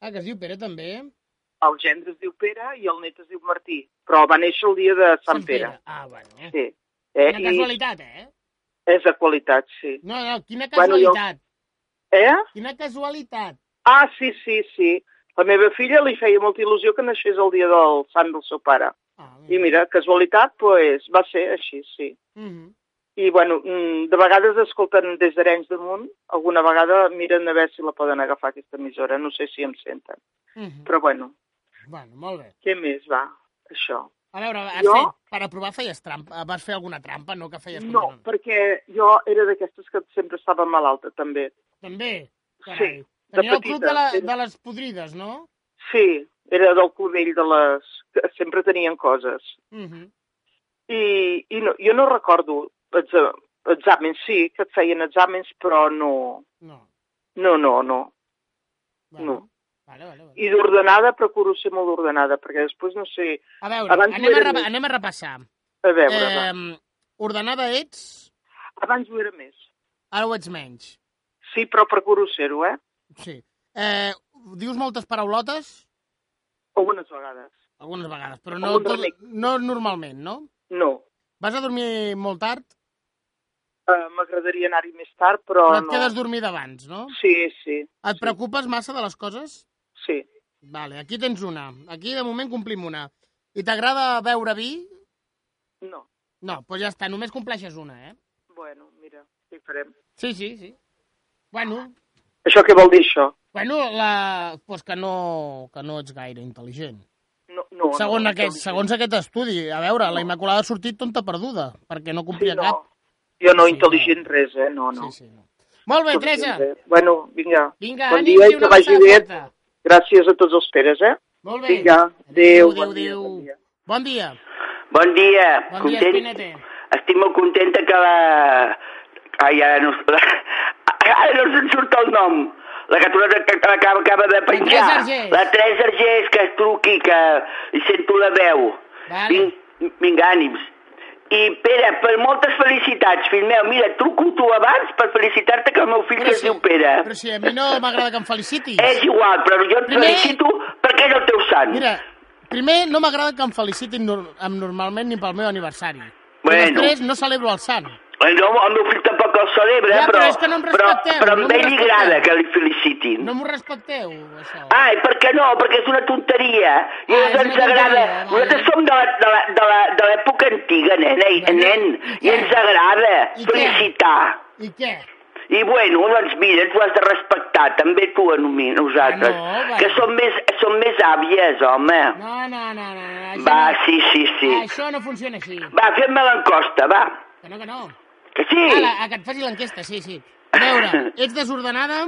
S2: Ah, que es diu Pere també?
S13: El gendre es diu Pere i el net es diu Martí, però va néixer el dia de Sant, Pere.
S2: Ah, bueno. Eh?
S13: Sí. Eh,
S2: Quina casualitat, eh?
S13: I és de qualitat, sí.
S2: No, no, quina
S13: Bueno, jo-
S2: casualitat.
S13: Eh?
S2: Quina casualitat.
S13: Ah, sí, sí, sí. La meva filla li feia molta il·lusió que naixés el dia del sant del seu pare.
S2: Ah,
S13: I mira, casualitat, pues, va ser així, sí.
S2: Mhm.
S13: I, bueno, mm, de vegades escolten des d'Arenys de Munt, alguna vegada miren a veure si la poden agafar aquesta emissora, no sé si em senten.
S2: Mhm.
S13: Però, bueno,
S2: Bueno, molt bé.
S13: què més va, això?
S2: A veure, has
S13: Jo-
S2: fet, per aprovar feies trampa, eh, vas fer alguna trampa, no? Que feies
S13: No, perquè jo era d'aquestes que sempre estava malalta, també.
S2: També?
S13: Sí, de
S2: Tenia el club de, la,
S13: petita.
S2: de les podrides, no?
S13: Sí, era del cubell de les... que sempre tenien coses.
S2: Mhm.
S13: I, i no, jo no recordo exa- exàmens, sí, que et feien exàmens, però no...
S2: No.
S13: No, no, no.
S2: Bueno,
S13: no.
S2: Vale, vale, vale.
S13: I d'ordenada procuro ser molt ordenada, perquè després no sé...
S2: A veure,
S13: Abans ho
S2: anem, a
S13: era
S2: repa-
S13: més.
S2: anem a repassar.
S13: A veure, va.
S2: Eh, ordenada ets?
S13: Abans ho era més.
S2: Ara ho ets menys.
S13: Sí, però procuro ser-ho, eh?
S2: Sí. Eh, dius moltes paraulotes?
S13: Algunes vegades.
S2: Algunes vegades, però no,
S13: Algun
S2: tot,
S13: remec.
S2: no normalment, no?
S13: No.
S2: Vas a dormir molt tard,
S13: Uh, M'agradaria anar-hi més tard, però,
S2: però et
S13: no.
S2: quedes dormida abans, no?
S13: Sí, sí,
S2: Et preocupes massa de les coses?
S13: sí.
S2: Vale, aquí tens una. Aquí, de moment, complim una. I t'agrada beure vi?
S13: No.
S2: No, doncs pues ja està, només compleixes una, eh?
S13: Bueno, mira, què hi farem?
S2: Sí, sí, sí. Bueno,
S13: Això què vol dir, això?
S2: bueno la... pues que, no, que no ets gaire intel·ligent.
S13: No, no,
S2: segons,
S13: no,
S2: aquest, segons aquest estudi, a veure, la Immaculada ha sortit tonta perduda, perquè no complia
S13: no.
S2: cap.
S13: Jo no intel·ligent res, eh? No, no.
S2: Sí, sí, no. Molt bé, Teresa.
S13: Eh, Bueno, vinga.
S2: Vinga,
S13: bon
S2: ànims
S13: dia
S2: i
S13: i
S2: una
S13: que vagi
S2: abraçada
S13: bé.
S2: forta.
S13: Gràcies a tots els peres, eh?
S2: Molt bé.
S13: Vinga, adéu.
S2: adéu,
S13: bon dia.
S2: adéu. Bon dia. Bon dia,
S14: Bon dia.
S2: bon dia
S14: Content,
S2: Espinete.
S14: estic molt contenta que la... Ai, ara no, [laughs] ara no se'n surt el nom. La caturada que que acaba, acaba de penjar.
S15: Teresa Argés.
S14: La Teresa Argés, que es truqui, que hi sento la veu.
S15: Vale.
S14: Vin- Vinga, ànims. I, Pere, per moltes felicitats, fill meu. Mira, truco tu abans per felicitar-te que el meu fill que es diu Pere.
S2: Però si a mi no m'agrada que em felicitis.
S14: És igual, però jo et
S2: Primer-
S14: felicito perquè és el teu sant.
S2: Mira, primer, no m'agrada que em felicitin nor amb normalment ni pel meu aniversari.
S14: Bueno.
S2: I després, no celebro el sant.
S14: Eh, No, el meu fill tampoc el celebra,
S2: Ja, però
S14: però,
S2: és que no em
S14: però,
S2: respecteu,
S14: però
S2: no
S14: a
S2: em
S14: ell li
S2: respecteu.
S14: agrada que li felicitin.
S2: No m'ho respecteu, això.
S14: Ai, per què no? Perquè és una tonteria.
S2: Ah,
S14: I ah,
S2: és una
S14: ens agrada.
S2: tonteria, vale.
S14: Nosaltres som de la- de la- de la- de l'època antiga, nena, i, nen, i ens agrada
S2: I què?
S14: felicitar.
S2: I què?
S14: I bueno, doncs mira, tu has de respectar també tu a nomi- nosaltres,
S2: Ah, no, va.
S14: que som més, som més àvies, home.
S2: No, no, no, no. no. això no.
S14: Va, Ah, sí, sí, sí.
S2: Ah, Això no funciona així.
S14: Va, fem-me l'encosta, va.
S2: Que no, que no.
S14: Que sí.
S2: Ala, a que et faci l'enquesta, sí, sí. A
S14: [laughs]
S2: veure, ets desordenada?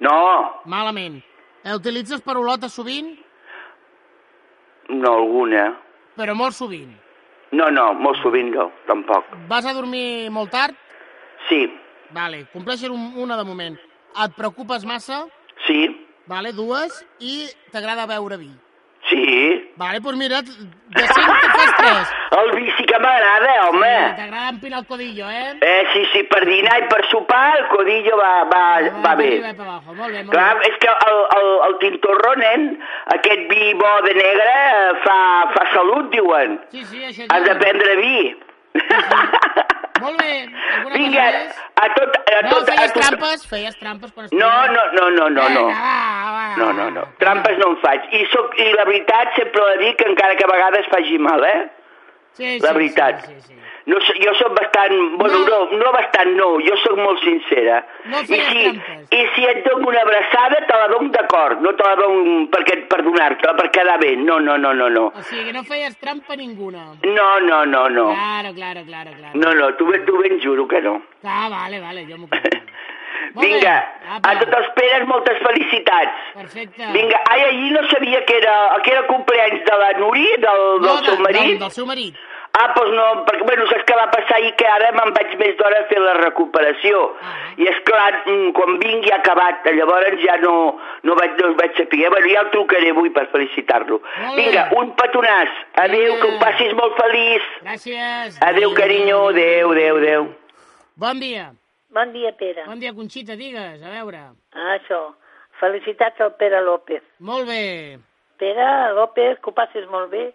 S14: No,
S2: Malament. Eh, Utilitzes paraulotes sovint,
S14: no alguna.
S2: però molt sovint.
S14: No, no, molt sovint no, tampoc.
S2: Vas a dormir molt tard?
S14: Sí,
S2: Vale, compleixes un, una de moment. Et preocupes massa?
S14: sí,
S2: Vale, dues. I t'agrada beure vi?
S14: sí.
S2: Vale, doncs mira, de cinc te'n fas tres.
S14: [laughs] El vi sí que m'agrada, home.
S2: Sí, T'agrada empinar el codillo, eh?
S14: Eh, sí, sí, per dinar i per sopar el codillo va, va,
S2: Ah,
S14: va bé.
S2: Molt bé, molt
S14: Clar,
S2: bé.
S14: és que el, el, el Tintorronen, aquest vi bo de negre, eh, fa, fa salut, diuen.
S2: Sí, sí, això
S14: Has de
S2: diuen.
S14: prendre vi.
S2: Molt bé. Alguna
S14: Vinga,
S2: cosa més?
S14: a tot... A
S2: No,
S14: tot, a
S2: feies
S14: tot...
S2: trampes, feies trampes quan
S14: No,
S2: estudiaves.
S14: no, no, no, no, no.
S2: Vinga, va, va.
S14: No, no, no. Trampes no en faig. I, soc, I la veritat sempre la dic, encara que a vegades faci mal, eh?
S2: Sí,
S14: La
S2: sí,
S14: veritat.
S2: Sí, sí, sí.
S14: No, so- jo sóc bastant... Bueno, no, no bastant, no. Jo sóc molt sincera.
S2: No
S14: I
S2: feies
S14: si,
S2: trampes.
S14: I si et dono una abraçada, te la dono d'acord. No te la dono perquè, per donar-te-la, per quedar bé. No, no, no, no, no.
S2: O sigui, que no feies trampa ninguna.
S14: No, no, no, no.
S2: Claro, claro, claro, claro.
S14: No, no, tu, ben- tu ben juro que no. [laughs]
S2: Ah, vale, vale, jo m'ho crec. Molt bé.
S14: Vinga,
S2: Apa.
S14: a tots els Peres, moltes felicitats.
S2: Perfecte.
S14: Vinga, ai, ahir no sabia que era, que era compleanys de la Nuri, del, del
S2: No,
S14: seu
S2: de-
S14: marit.
S2: del- del seu marit.
S14: Ah, doncs no, perquè, bueno, saps què va passar ahir? Que ara me'n vaig més d'hora a fer la recuperació.
S2: Ah,
S14: I és clar, mm, quan vinc ja ha acabat, llavors ja no, no, vaig, no us vaig saber. Bueno, ja el trucaré avui per felicitar-lo. Vinga, un petonàs. Adéu, que ho passis molt feliç.
S2: Gràcies.
S14: Adéu, carinyo, adéu, adéu, adéu.
S2: Bon dia.
S16: Bon dia, Pere.
S2: Bon dia, Conxita, digues, a veure.
S16: Ah, això. Felicitats al Pere López.
S2: Molt bé.
S16: Pere López, que ho passis molt bé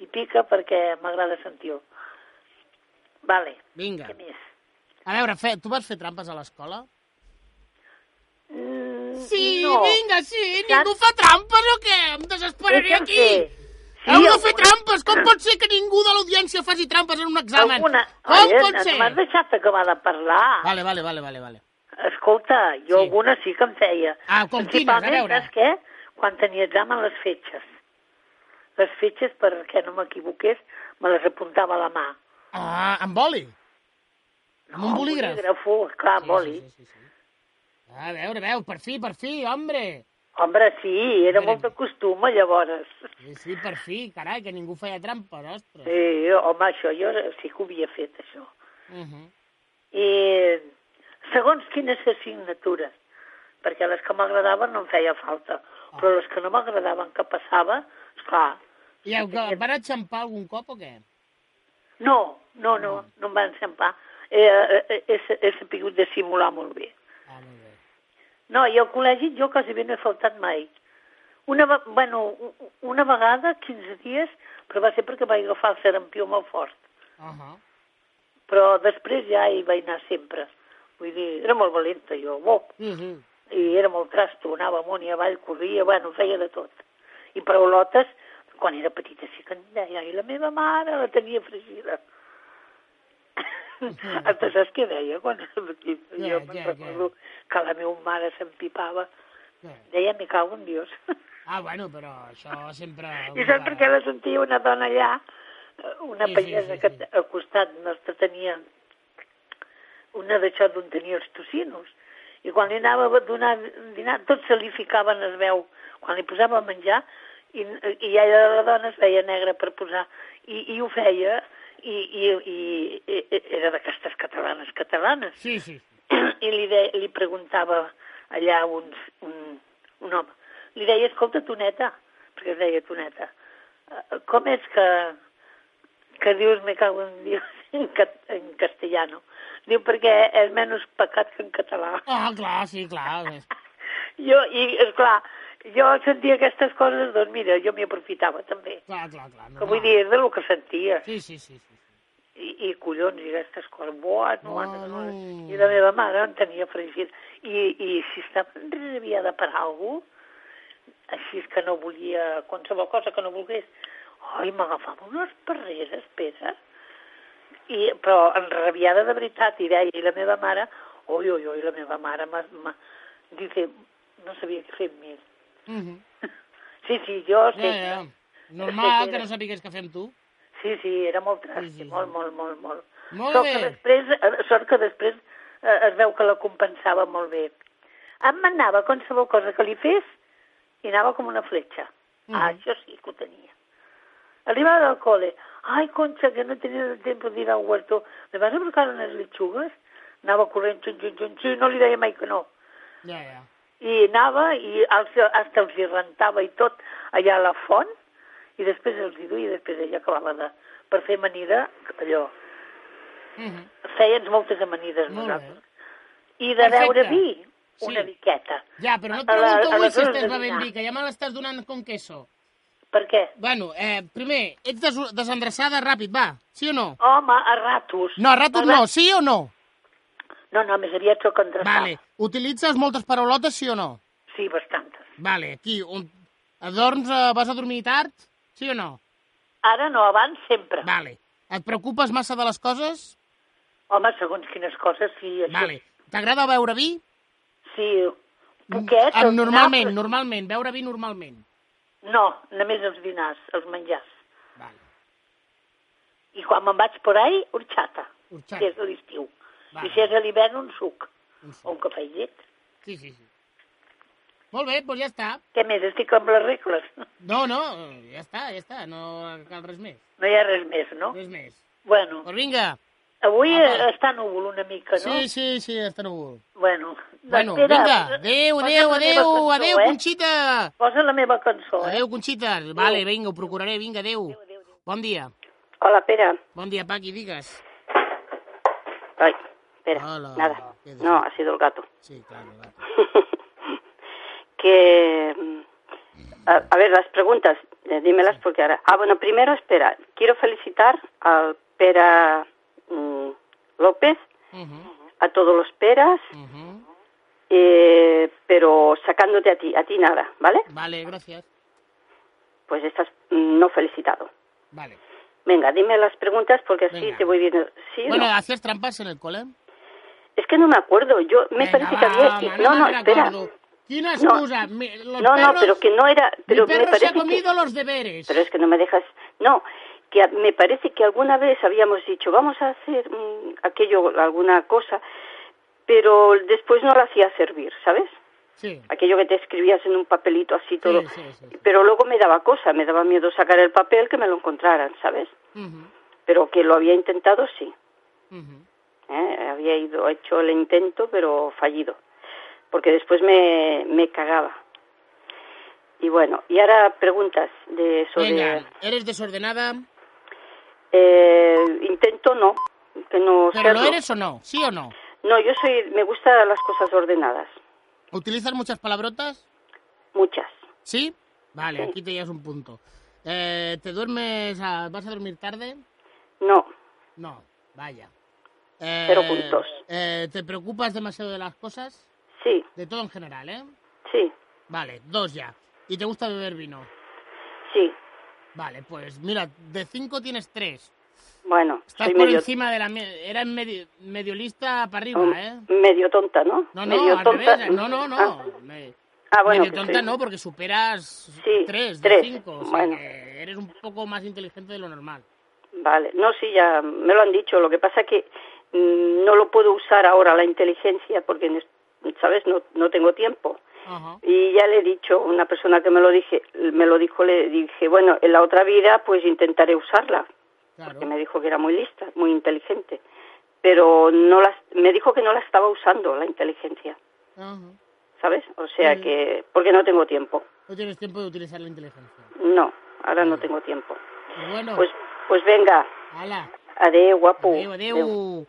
S16: i pica perquè m'agrada sentir-ho. Vale.
S2: Vinga.
S16: Què més?
S2: A veure, fe, tu vas fer trampes a l'escola?
S16: Mm,
S2: Sí,
S16: no.
S2: vinga, sí. Ningú fa trampes o què? Em desesperaré
S16: Deixa'm
S2: aquí.
S16: fer. Sí,
S2: Heu de
S16: alguna-
S2: fer trampes! Com pot ser que ningú de l'audiència faci trampes en un examen?
S16: Alguna...
S2: Com
S16: Ai, eh,
S2: pot
S16: no
S2: ser?
S16: M'has deixat acabar de parlar.
S2: Vale, vale, vale, vale. vale.
S16: Escolta, jo sí. alguna sí que em feia.
S2: Ah, com quines? A
S16: Principalment,
S2: veure.
S16: Saps què? Quan tenia examen, les fetges. Les fetges, perquè no m'equivoqués, me les apuntava a la mà.
S2: Ah, amb boli? Amb un bolígraf?
S16: bolígrafo, clar,
S2: Sí,
S16: sí, boli.
S2: sí, A veure, veu, per fi, per fi, home.
S16: Hombre, sí, era molt de costum, eh, llavors.
S2: Sí, sí, per fi, carai, que ningú feia trampes, ostres.
S16: Sí, home, això jo sí que ho havia fet, això.
S2: Uh
S16: Mhm.
S2: -huh.
S16: I segons quines assignatures, perquè les que m'agradaven no em feia falta, però les que no m'agradaven que passava, esclar,
S2: I el, que- et van aixampar algun cop o què?
S16: no, no, no, no em van sempar. He, he, eh, he, he sapigut dissimular Ah, molt bé. No, i al col·legi jo quasi bé no he faltat mai. Una, ve- bueno, u- u- una vegada, 15 dies, però va ser perquè vaig agafar el serampió molt fort.
S2: Uh -huh.
S16: Però després ja hi vaig anar sempre. Vull dir, era molt valenta jo, bo,
S2: Uh -huh.
S16: i era molt trasto, anava amunt i avall, corria, bueno, feia de tot. I paraulotes, quan era petita sí que en deia, i la meva mare la tenia fregida.
S17: Mm.
S16: Tu saps què deia quan era petit?
S18: Què,
S16: jo
S18: què,
S16: me'n recordo que la meva mare s'empipava. Deia, me cago en Dios.
S2: Ah, bueno, però això sempre...
S16: I saps per què la sentia una dona allà? Eh, Una
S2: Sí, sí,
S16: pallesa que t- al costat nostre tenia una d'això d'on tenia els tocinos. I quan li anava a donar dinar, tots se li ficaven, es veu, quan li posava a menjar, i, i ella, la dona, es veia negra per posar, i, i ho feia, i, i, i, i i era d'aquestes catalanes, catalanes.
S2: Sí, sí.
S16: I li, de, li preguntava allà uns, un, un home, li deia, escolta, Toneta, perquè es deia Toneta, eh, com és que, que dius me cago en Dios [laughs] en, cat, en castellano? Diu, perquè és menys pecat que en català. [laughs]
S2: Ah, clar, sí, clar.
S16: Jo, i, esclar, jo sentia aquestes coses, doncs mira, jo m'hi aprofitava també.
S2: Clar, clar, clar.
S16: Que vull dir, és del que sentia.
S2: Sí, sí, sí. sí.
S16: I, I collons, i aquestes coses, buah, no, no, no. I la meva mare en tenia fregit. I, i si estava enrabiada per alguna així és que no volia, qualsevol cosa que no volgués, ai, m'agafava unes perreres, Pere. I, però enrabiada de veritat, i deia, i la meva mare, Oi, oi, oi, la meva mare m'ha... m'ha- Dice, no sabia què fer amb ell.
S2: Mhm.
S16: Sí, sí, jo sé.
S2: Ja, ja.
S16: [laughs]
S2: Normal que no sapigués què fer amb tu.
S16: Sí, sí, era molt tràstic, sí, sí, molt, molt, molt, molt.
S2: Molt
S16: sort
S2: bé.
S16: Que després, eh, sort que després eh, es veu que la compensava molt bé. Em manava qualsevol cosa que li fes i anava com una fletxa. Mm
S2: Mm-hmm.
S16: -hmm. Ah, això sí que ho tenia. Arribava al col·le. Ai, Concha, que no tenia temps d'ir al huerto. Me vas a buscar unes lechugues? Anava corrent, xun, xun, xun, xun, no li deia mai que no.
S2: Ja, ja.
S16: I anava i els, fins els hi rentava i tot allà a la font i després els hi duia i després ella acabava de... Per fer amanida, allò,
S2: Mhm.
S16: feien moltes amanides
S2: Molt
S16: nosaltres. I de
S2: Perfecte.
S16: beure vi,
S2: Sí.
S16: una miqueta.
S2: Ja, però no et
S16: A la-
S2: pregunto
S16: a
S2: avui
S16: les
S2: si
S16: hores
S2: estàs
S16: de
S2: bevent
S16: dinar.
S2: vi, que ja me l'estàs donant con queso.
S16: Per què?
S2: Bueno, eh, primer, ets des desendreçada ràpid, va. Sí o no?
S16: Home, a ratos.
S2: No, a ratos no. Sí o no?
S16: No, no, més aviat sóc endreçada.
S2: Vale. Utilitzes moltes paraulotes, sí o no?
S16: Sí, bastantes.
S2: Vale, aquí, on... Dorms, eh, vas a dormir tard? Sí o no?
S16: Ara no, abans sempre.
S2: Vale. Et preocupes massa de les coses?
S16: Home, segons quines coses, sí. Això...
S2: Vale. T'agrada beure vi?
S16: Sí, poquet.
S2: Ah,
S16: els
S2: normalment,
S16: dinars-
S2: normalment. Beure vi normalment.
S16: No, només els dinars, els menjars.
S2: Vale.
S16: I quan me'n vaig por ahí, horchata.
S2: Horchata.
S16: Si és a l'estiu.
S2: Vale.
S16: I si és a l'hivern, un suc. O un cafè llet.
S2: Sí, sí, sí. Molt bé, doncs ja està.
S16: Què més? Estic amb les regles.
S2: No, no, eh, ja està, ja està. No cal res més.
S16: No hi ha res més, no?
S2: Res més.
S16: Bueno,
S2: Doncs vinga.
S16: avui
S2: Apa.
S16: eh, està núvol una mica, no?
S2: Sí, sí, sí, està núvol.
S16: Bueno, doncs
S2: Bueno,
S16: espera,
S2: vinga,
S16: posa-
S2: adéu,
S16: posa
S2: adéu,
S16: la meva
S2: adéu,
S16: cançó,
S2: adéu,
S16: eh?
S2: Conxita.
S16: Posa la meva cançó, eh?
S2: Adéu, Conxita. Vale, vinga, ho procuraré, vinga, adéu. Bon dia.
S18: Hola, Pere.
S2: Bon dia, Paqui, digues.
S18: Ay, espera,
S2: Hola.
S18: nada.
S2: ¿Qué dices?
S18: No, ha sido el gato.
S2: Sí, claro, va.
S18: [laughs] que... mm, A, a ver, las preguntas, eh, dímelas porque ahora... Ah, bueno, primero, espera, quiero felicitar al Pera mm, López, a todos los Peras, eh, pero sacándote a ti, a ti nada, ¿vale?
S2: Vale, gracias.
S18: Pues estás mm, no felicitado.
S2: Vale.
S18: Venga, dime las preguntas porque así
S2: Venga.
S18: te voy viendo. Sí, o
S2: Bueno,
S18: no?
S2: ¿hacías trampas en el cole?
S18: Es que no me acuerdo, yo me
S2: Venga,
S18: parece que
S2: va,
S18: había...
S2: home,
S18: no,
S2: no
S18: no,
S2: me
S18: espera.
S2: acuerdo. Quina
S18: No.
S2: excusa? Mi- los
S18: No,
S2: perros,
S18: no, pero que no era... Pero
S2: mi perro
S18: me parece
S2: se ha
S18: que-
S2: comido los deberes.
S18: Pero es que no me dejas... No, que a- me parece que alguna vez habíamos dicho, vamos a hacer mm, aquello, alguna cosa, pero después no la hacía servir, ¿sabes?
S2: Sí.
S18: Aquello que te escribías en un papelito así todo.
S2: Sí, sí, sí.
S18: Pero luego me daba cosa, me daba miedo sacar el papel que me lo encontraran, ¿sabes?
S2: Ujú,
S18: Pero que lo había intentado, sí.
S2: ujú.
S18: ¿eh? Había ido, hecho el intento, pero fallido. Porque después me, me cagaba. Y bueno, y ahora preguntas de sobre...
S2: Venga, ¿eres desordenada?
S18: Eh, intento no, que no
S2: ¿Pero
S18: serlo.
S2: lo eres o no? ¿Sí o no?
S18: No, yo soy, me gustan las cosas ordenadas,
S2: ¿Utilizas muchas palabrotas?
S18: muchas.
S2: ¿Sí? Vale,
S18: Sí.
S2: aquí te llevas un punto. Eh, ¿Te duermes, a- vas a dormir tarde?
S18: No,
S2: No, vaya.
S18: Cero
S2: Eh,
S18: puntos.
S2: eh, ¿Te preocupas demasiado de las cosas?
S18: Sí.
S2: De todo en general, ¿eh?
S18: sí,
S2: Vale, dos ya. ¿Y te gusta beber vino?
S18: sí.
S2: Vale, pues mira, de cinco tienes tres.
S18: Bueno,
S2: Estás
S18: soy
S2: por
S18: medio,
S2: encima de la... me- Era en medio, medio lista para arriba,
S18: um,
S2: ¿eh?
S18: medio tonta, ¿no?
S2: No, no,
S18: medio
S2: al
S18: tonta.
S2: revés, eh. no, no, no.
S18: Ah,
S2: Me-
S18: ah, bueno,
S2: medio
S18: que
S2: tonta
S18: soy-
S2: no, porque superas
S18: Sí,
S2: tres de
S18: tres,
S2: cinco. O sea
S18: bueno.
S2: que eres un poco más inteligente de lo normal.
S18: Vale, no, sí, ya me lo han dicho. Lo que pasa que mm, no lo puedo usar ahora la inteligencia porque, en es- ¿sabes? No, no tengo tiempo.
S2: Ajá.
S18: Y ya le he dicho a una persona que me lo dije, me lo dijo, le dije, bueno, en la otra vida pues intentaré usarla, porque me dijo que era muy lista, muy inteligente, pero no la, me dijo que no la estaba usando la inteligencia,
S2: ajá.
S18: ¿sabes? O sea
S2: Sí.
S18: que porque no tengo tiempo.
S2: No tienes tiempo de utilizar la inteligencia.
S18: No, ahora no tengo tiempo.
S2: Pues bueno,
S18: Pues pues venga,
S2: ala,
S18: adeu, guapo.
S2: adeu, adeu.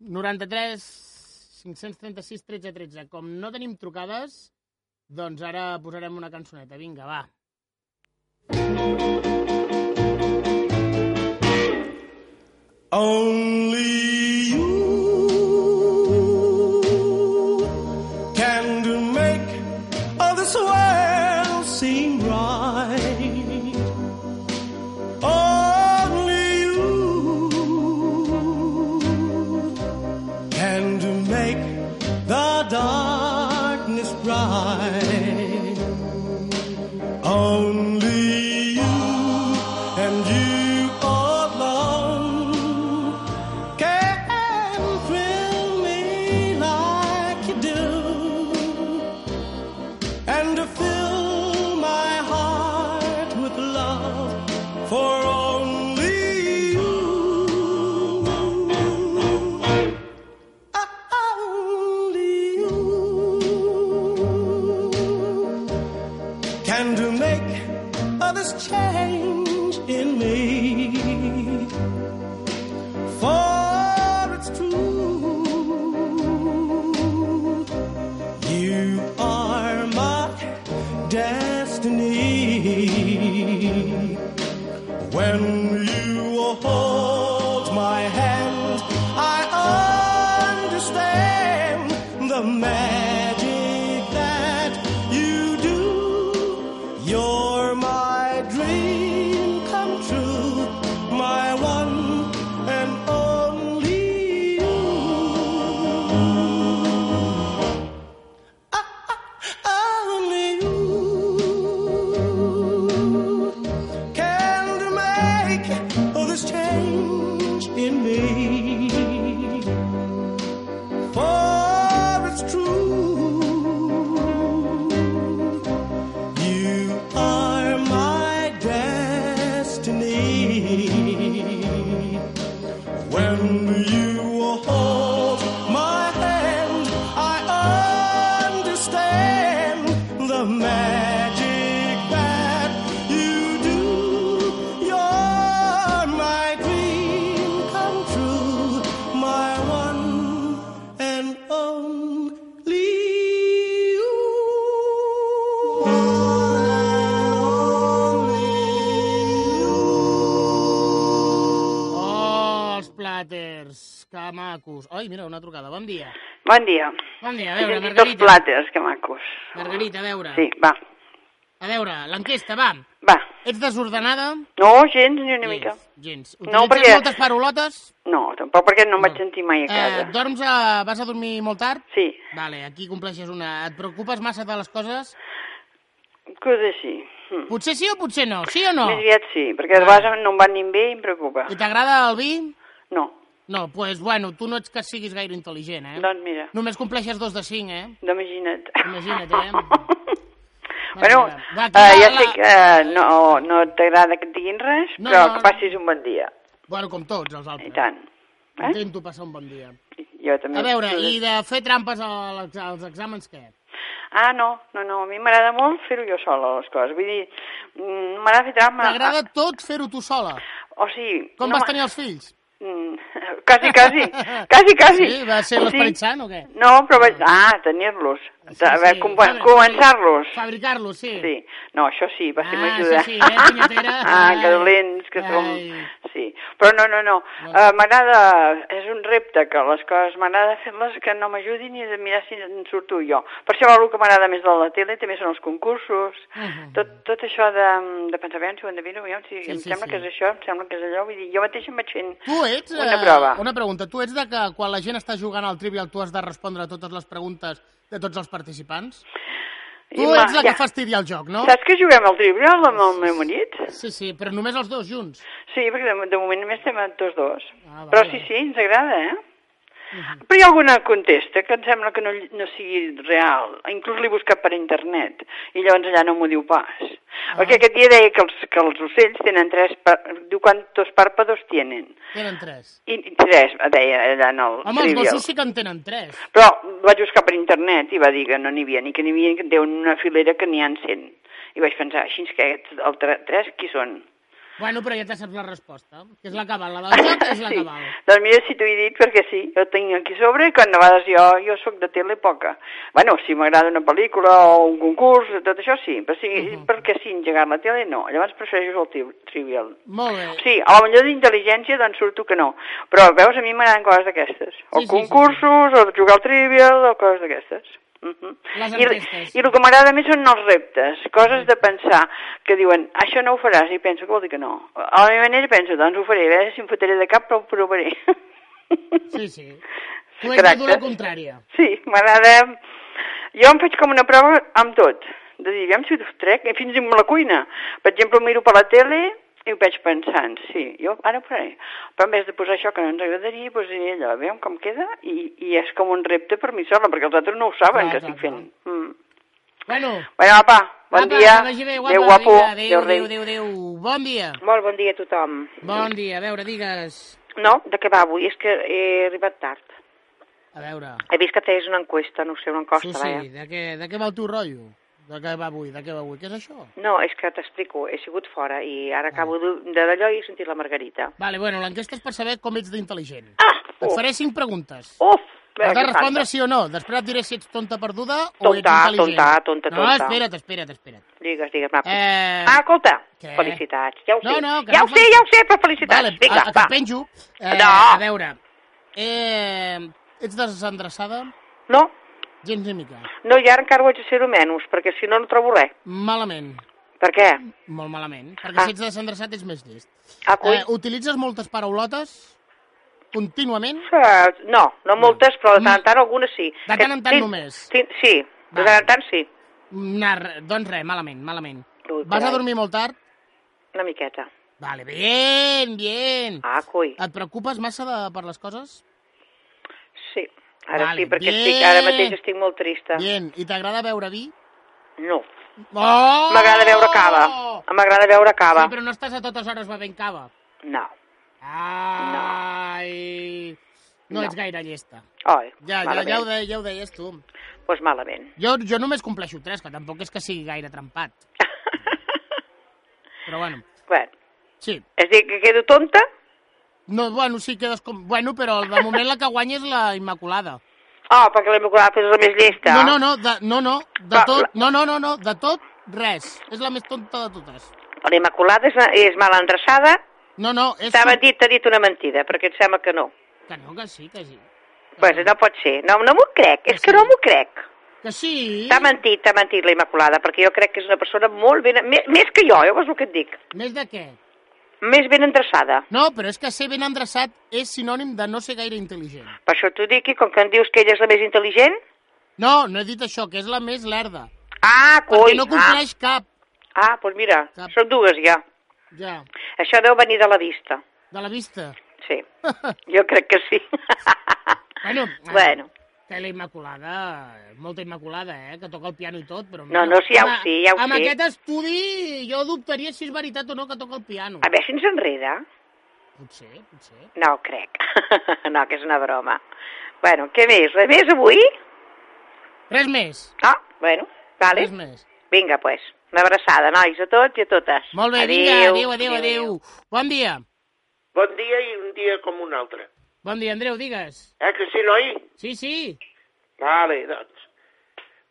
S2: 93 536 13 13. Com no tenim trucades, doncs ara posarem una cançoneta. Vinga, va.
S15: Only you can do make all this world seem right. Only you can do make
S19: Ah, change in me. For it's true, you are my destiny. When you hold my hand, I understand the magic that you do. You're my dream come true, my one and only you. Ah, Only you can to make all this change in me. For it's true, you are my destiny. When you hold my hand, I understand the magic that you do. You're my dream come true, my one and only
S2: Oh, els plàters, que macos. Ai, mira, una trucada. Bon dia.
S20: Bon dia.
S2: Bon dia, a
S20: He
S2: veure,
S20: sentit els
S2: Margarita.
S20: plàters, que macos.
S2: Margarita, a veure.
S20: Sí, va.
S2: A veure, l'enquesta, va.
S20: Va.
S2: Ets desordenada?
S20: No, gens ni una mica.
S2: Gens.
S20: No,
S2: Utilitzes
S20: perquè...
S2: moltes parolotes?
S20: No, tampoc perquè no em vaig sentir mai a
S2: Eh,
S20: casa.
S2: dorms a... Vas a dormir molt tard?
S20: Sí.
S2: Vale, aquí compleixes una... Et preocupes massa de les coses?
S20: Coses sí.
S2: Potser sí o potser no, doncs, sí o no? Ah.
S20: Més aviat sí, perquè els vas no em van ni bé i em preocupa.
S2: I t'agrada el vi?
S20: No.
S2: No, doncs, pues, bueno, tu no ets que siguis gaire intel·ligent, eh?
S20: Doncs mira,
S2: Només compleixes dos de cinc, eh?
S20: imagina't.
S2: Imagina't, eh?
S20: [laughs] Bueno,
S2: va,
S20: eh,
S2: aquí la-
S20: ja
S2: la-
S20: sé que eh, no, no t'agrada que et diguin res,
S2: No,
S20: però
S2: no,
S20: que passis un bon dia.
S2: Bueno, com tots els altres.
S20: I tant.
S2: Eh? Intento passar un bon dia.
S20: Jo també.
S2: A veure, i de fer trampes a l'ex- als exàmens, què?
S20: Ah, no, no, no, a mi m'agrada molt fer-ho jo sola, les coses. Vull dir, mm, m'agrada fer trama.
S2: T'agrada tot fer-ho tu sola?
S20: O sigui...
S2: Com
S20: eh, no
S2: vas
S20: m'a-
S2: tenir els fills?
S20: Mm, [laughs] quasi, quasi, quasi, quasi.
S2: Sí, va ser l'esperit sant o què?
S20: No, però vaig... Ah, tenir-los. A veure,
S2: sí.
S20: com-
S2: Fabricar-
S20: Començar-los.
S2: Fabricar-los, sí.
S20: Sí. No, això sí, va ser
S2: Ah,
S20: m'ajuda.
S2: això sí, eh, punyetera?
S20: [laughs] ah,
S2: Ai.
S20: que dolents que som.
S2: Ai.
S20: Sí. Però no, no, no. Eh, m'agrada... És un repte que les coses... M'agrada fer-les que no m'ajudin ni de mirar si en surto jo. Per això el que m'agrada més de la tele també són els concursos. Tot, tot això de, mm, de pensar, veure si ho endevino, veure si
S2: Mm. Sí,
S20: em
S2: sí,
S20: sembla
S2: sí.
S20: que és això, em sembla que és allò. Vull dir, jo mateixa em vaig fent
S2: Tu ets... eh,
S20: una prova.
S2: Una pregunta. Tu ets de que quan la gent està jugant al Trivial tu has de respondre a totes les preguntes de tots els participants? Tu
S20: Ima,
S2: ets la
S20: ja.
S2: que fastidia el joc, no?
S20: Saps que juguem al trivial amb el meu marit?
S2: Sí, sí, però només els dos junts.
S20: Sí, perquè de, de moment només estem tots dos.
S2: Ah, Mhm.
S20: Però sí, sí, ens agrada, eh? Però hi ha alguna contesta que em sembla que no, ll- no sigui real. Inclús l'he buscat per internet i llavors allà no m'ho diu pas.
S2: Ah.
S20: Perquè aquest dia deia que els, que els ocells tenen tres... par- Diu quantos párpados tienen.
S2: Tenen tres.
S20: I, i tres, deia allà en el
S2: Home, els
S20: trivial.
S2: gossos sí que en tenen tres.
S20: Però vaig buscar per internet i va dir que no n'hi havia, ni que n'hi havia, que en té una filera que n'hi ha 100. I vaig pensar, així que aquests el tre- tres qui són?
S2: Bueno, però ja te saps la resposta, que és la que val. La del joc és la que val.
S20: Doncs mira si t'ho he dit, perquè sí, jo tinc aquí a sobre i quan a vegades jo, jo sóc de tele poca. Bueno, si m'agrada una pel·lícula o un concurs, tot això sí, però sí, perquè sí, engegar la tele no. Llavors prefereixo el tri- trivial.
S2: Molt bé.
S20: Sí, a la millor d'intel·ligència doncs surto que no. Però veus, a mi m'agraden coses d'aquestes. O
S2: Sí, sí, sí,
S20: concursos, o jugar al trivial, o coses d'aquestes. Mhm.
S2: Les
S20: I,
S2: enquestes.
S20: I el que m'agrada més són els reptes, coses de pensar, que diuen, això no ho faràs, i penso que vol dir que no. A la meva manera penso, doncs ho faré, a veure si em fotré de cap, però ho provaré.
S2: Sí, sí.
S20: [laughs]
S2: Tu ets de dur la
S20: Caràcter.
S2: contrària.
S20: Sí, m'agrada... Jo em faig com una prova amb tot, de dir, aviam si ho trec, i fins i tot amb la cuina. Per exemple, ho miro per la tele i ho vaig pensant, sí, jo ara ho faré. Però en vez de posar això que no ens agradaria, posaré allò, aviam com queda, i, i és com un repte per mi sola, perquè els altres no ho saben,
S2: Clar,
S20: que
S2: clar,
S20: estic fent. Mm.
S2: Bueno,
S20: Bueno, apa, bon
S2: apa,
S20: dia.
S2: que vagi bé, guapa.
S20: Adéu, guapo.
S2: Vinga, adéu,
S20: Adéu, rei.
S2: adéu, adéu, adéu. Bon dia.
S21: Molt bon dia a tothom.
S2: Bon dia. A veure, digues...
S21: No, de què va avui? És que he arribat tard.
S2: A veure...
S21: He vist que feies una enquesta, no ho sé, una encosta,
S2: Sí,
S21: vaja.
S2: sí, de què, de què va el teu rotllo? De què va avui? De què va avui? Què és això?
S21: No, és que t'explico, he sigut fora i
S2: Ah.
S21: ara acabo de de d'allò i he sentit la Margarita.
S2: Vale, bueno, l'enquesta és per saber com ets d'intel·ligent.
S21: Ah!
S2: Et faré cinc preguntes.
S21: Uf!
S2: Has de
S21: que
S2: respondre
S21: falta.
S2: sí o no. Després et diré si ets tonta perduda o ets
S21: Tonta,
S2: intel·ligent.
S21: tonta, tonta,
S2: No,
S21: tonta.
S2: espera't, espera't, espera't.
S21: Digues, digues, va.
S2: Eh...
S21: Ah, escolta,
S2: Què?
S21: felicitats, ja ho
S2: No,
S21: sé.
S2: no, que
S21: ja
S2: no
S21: ho sé, ja ho sé, però felicitats.
S2: Vale,
S21: Vinga,
S2: a, a
S21: va.
S2: que penjo. Eh,
S21: No.
S2: A veure, eh, ets desendreçada?
S21: No.
S2: Gens ni mica.
S21: No, i ara encara ho haig de ser-ho menys, perquè si no, no trobo res.
S2: Malament.
S21: Per què?
S2: Molt malament. Perquè
S21: Ah.
S2: si ets desendreçat ets més llest.
S21: Ah, coi.
S2: Eh, utilitzes moltes paraulotes? Contínuament?
S21: Eh, no, no moltes, però de tant en tant algunes sí.
S2: De
S21: Que
S2: tant en tant
S21: tinc-
S2: només.
S21: tinc- Sí, de tant en tant sí,
S2: Nah, re- doncs res, malament, malament.
S21: Ui,
S2: Vas a
S21: carai.
S2: dormir molt tard?
S21: una miqueta.
S2: Vale, bien, bien.
S21: Ah, coi.
S2: Et preocupes massa de, per les coses?
S21: Sí, ara
S2: Vale,
S21: sí, perquè
S2: bien.
S21: estic, ara mateix estic molt trista.
S2: Bien, i t'agrada beure vi?
S21: No.
S2: Oh!
S21: M'agrada beure cava. M'agrada beure cava.
S2: Sí, però no estàs a totes hores bevent cava.
S21: No.
S2: Ai... No,
S21: No.
S2: ets gaire llesta.
S21: Oi,
S2: Ja, ja,
S21: malament.
S2: ja, ho deia, ja ho deies tu.
S21: Doncs pues malament.
S2: Jo, jo només compleixo tres, que tampoc és que sigui gaire
S21: [laughs]
S2: trempat. Però bueno,
S21: Bueno,
S2: sí.
S21: és a dir, que quedo tonta?
S2: No, bueno, sí quedes com... Bueno, però de moment la que guanya és la Immaculada.
S21: Oh, perquè la Immaculada és la més llesta.
S2: No, no, no, de, no, no, de
S21: Va,
S2: tot, no, no, no, no, de tot, res. És la més tonta de totes.
S21: La Immaculada és, és mal endreçada.
S2: No, no, és...
S21: T'ha dit, t'ha dit una mentida, perquè et sembla que no.
S2: Que no, que sí, que sí.
S21: Pues no pot ser, no, no m'ho crec, és que no m'ho crec.
S2: Que sí.
S21: T'ha mentit, t'ha mentit la Immaculada, perquè jo crec que és una persona molt ben... Més, més que jo, eh, veus el que et dic?
S2: Més de què?
S21: Més ben endreçada.
S2: No, però és que ser ben endreçat és sinònim de no ser gaire intel·ligent.
S21: Per això t'ho dic, i com que em dius que ella és la més intel·ligent...
S2: No, no he dit això, que és la més lerda.
S21: Ah, coi!
S2: Perquè no compleix cap.
S21: Ah, doncs mira, són dues ja.
S2: Ja,
S21: Això deu venir de la vista.
S2: de la vista.
S21: Sí, jo crec que sí.
S2: Bueno,
S21: Bueno.
S2: Que la Immaculada, molta Immaculada, eh? Que toca el piano i tot,
S21: No,
S2: però... mira,
S21: no, sí, ja ho
S2: amb-
S21: sé, ja ho
S2: amb
S21: sé.
S2: aquest estudi jo dubtaria si és veritat o no que toca el piano.
S21: A veure si ens enreda.
S2: Potser, potser.
S21: No, ho crec. [laughs] no, que és una broma. Bueno, què més? Res més avui?
S2: Res més.
S21: Ah, bueno, vale.
S2: Res més.
S21: Vinga, pues. Una abraçada, nois, a tots i a totes.
S2: Molt bé, adéu, vinga, adéu, adéu, adéu. Bon dia.
S22: [laughs] Bon dia i un dia com un altre.
S2: Bon dia, Andreu, digues.
S22: Eh, que sí, noi?
S2: Sí, sí.
S22: Vale, doncs.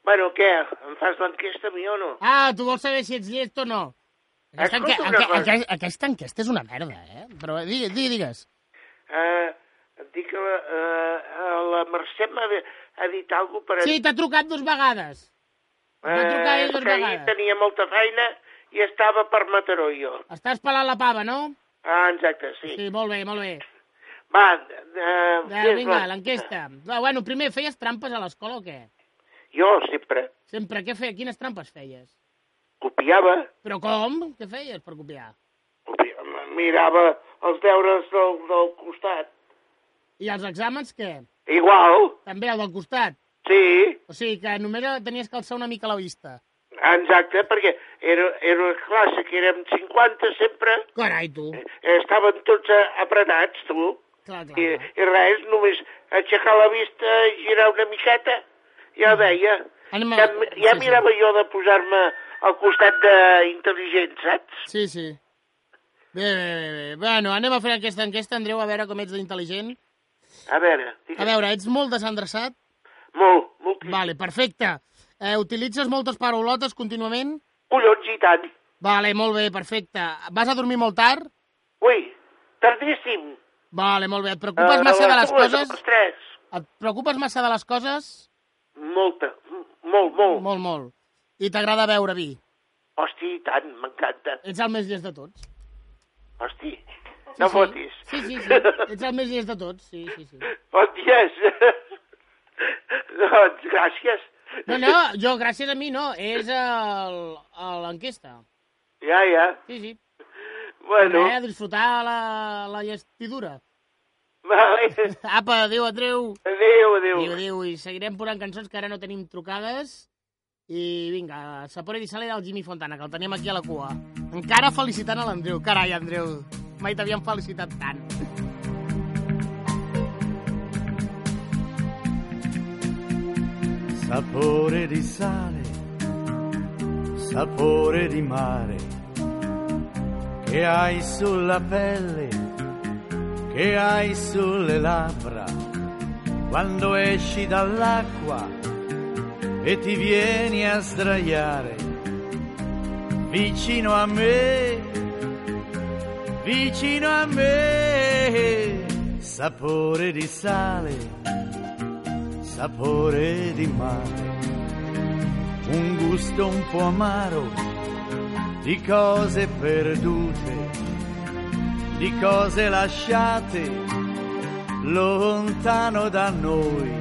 S22: Bueno, què? Em fas l'enquesta a mi o no?
S2: Ah, tu vols saber si ets llest o no? Aquesta,
S22: Escolta
S2: enque-
S22: una
S2: enque-
S22: cosa.
S2: enque- aquesta enquesta és una merda, eh? Però digues, digues. digues.
S22: Eh, et dic que la, eh, la Mercè m'ha de- ha dit alguna cosa per...
S2: Sí, t'ha trucat dues vegades. va trucar ell
S22: eh,
S2: dues
S22: que ahir
S2: vegades.
S22: tenia molta feina i estava per Mataró jo.
S2: Estàs pelant la pava, no?
S22: Ah, exacte, sí.
S2: Ah, Sí, molt bé, molt bé.
S22: Va, eh,
S2: Va,
S22: fes
S2: vinga, l'enquesta. Va, bueno, primer, feies trampes a l'escola o què?
S22: Jo sempre
S2: Sempre, què feia? Quines trampes feies?
S22: copiava,
S2: Però com? Què feies per copiar?
S22: mirava els deures del, del costat.
S2: I els exàmens, què?
S22: Igual,
S2: També el del costat?
S22: sí,
S2: O sigui que només tenies que alçar una mica la vista.
S22: exacte, perquè era, era una classe que érem 50 sempre,
S2: Carai, tu.
S22: eh, estaven tots eh, aprenats, tu,
S2: Clar, clar.
S22: i, i res, només aixecar la vista, girar una miqueta, ja ho veia.
S2: Mm. Anem a-
S22: Ja,
S2: sí,
S22: ja
S2: sí.
S22: mirava jo de posar-me al costat d'intel·ligent, saps?
S2: Sí, sí. Bé, bé, bé, bé. Bueno, anem a fer aquesta enquesta, Andreu, a veure com ets d'intel·ligent.
S22: A veure,
S2: A
S22: digue'm,
S2: veure, ets molt desendreçat?
S22: Molt, molt.
S2: Vale, perfecte. Eh, utilitzes moltes paraulotes contínuament?
S22: collons i tant.
S2: Vale, molt bé, perfecte. Vas a dormir molt tard?
S22: Ui, tardíssim.
S2: Vale, molt bé. Et
S22: Eh,
S2: preocupes massa de les
S22: dues, a
S2: coses?
S22: Les tres.
S2: Et preocupes massa de les coses?
S22: Molta, m- molt, molt.
S2: Molt, molt. I t'agrada beure vi?
S22: Hosti, i tant, m'encanta.
S2: Ets el més llest de tots.
S22: Hosti, no fotis.
S2: Sí, sí,
S22: [laughs]
S2: sí. Ets el més llest de tots, sí, sí, sí.
S22: Hòsties. doncs, [laughs] gràcies.
S2: No, no, jo, gràcies a mi, no. És el- el- l'enquesta.
S22: Ja, ja.
S2: Sí, sí.
S22: Bueno,
S2: Eh, a disfrutar la, la llestidura.
S22: vale.
S2: [laughs] Apa, adéu, Andreu.
S22: Adéu, adéu.
S2: Adéu, adéu. I seguirem posant cançons que ara no tenim trucades. I vinga, Sapore di Sale del Jimmy Fontana, que el tenim aquí a la cua. Encara felicitant a l'Andreu. Carai, Andreu, mai t'havíem felicitat tant.
S23: sapore di sale sapore di mare che hai sulla pelle, che hai sulle labbra, quando esci dall'acqua e ti vieni a sdraiare vicino a me, vicino a me, sapore di sale, sapore di mare, un gusto un po' amaro di cose perdute, di cose lasciate lontano da noi,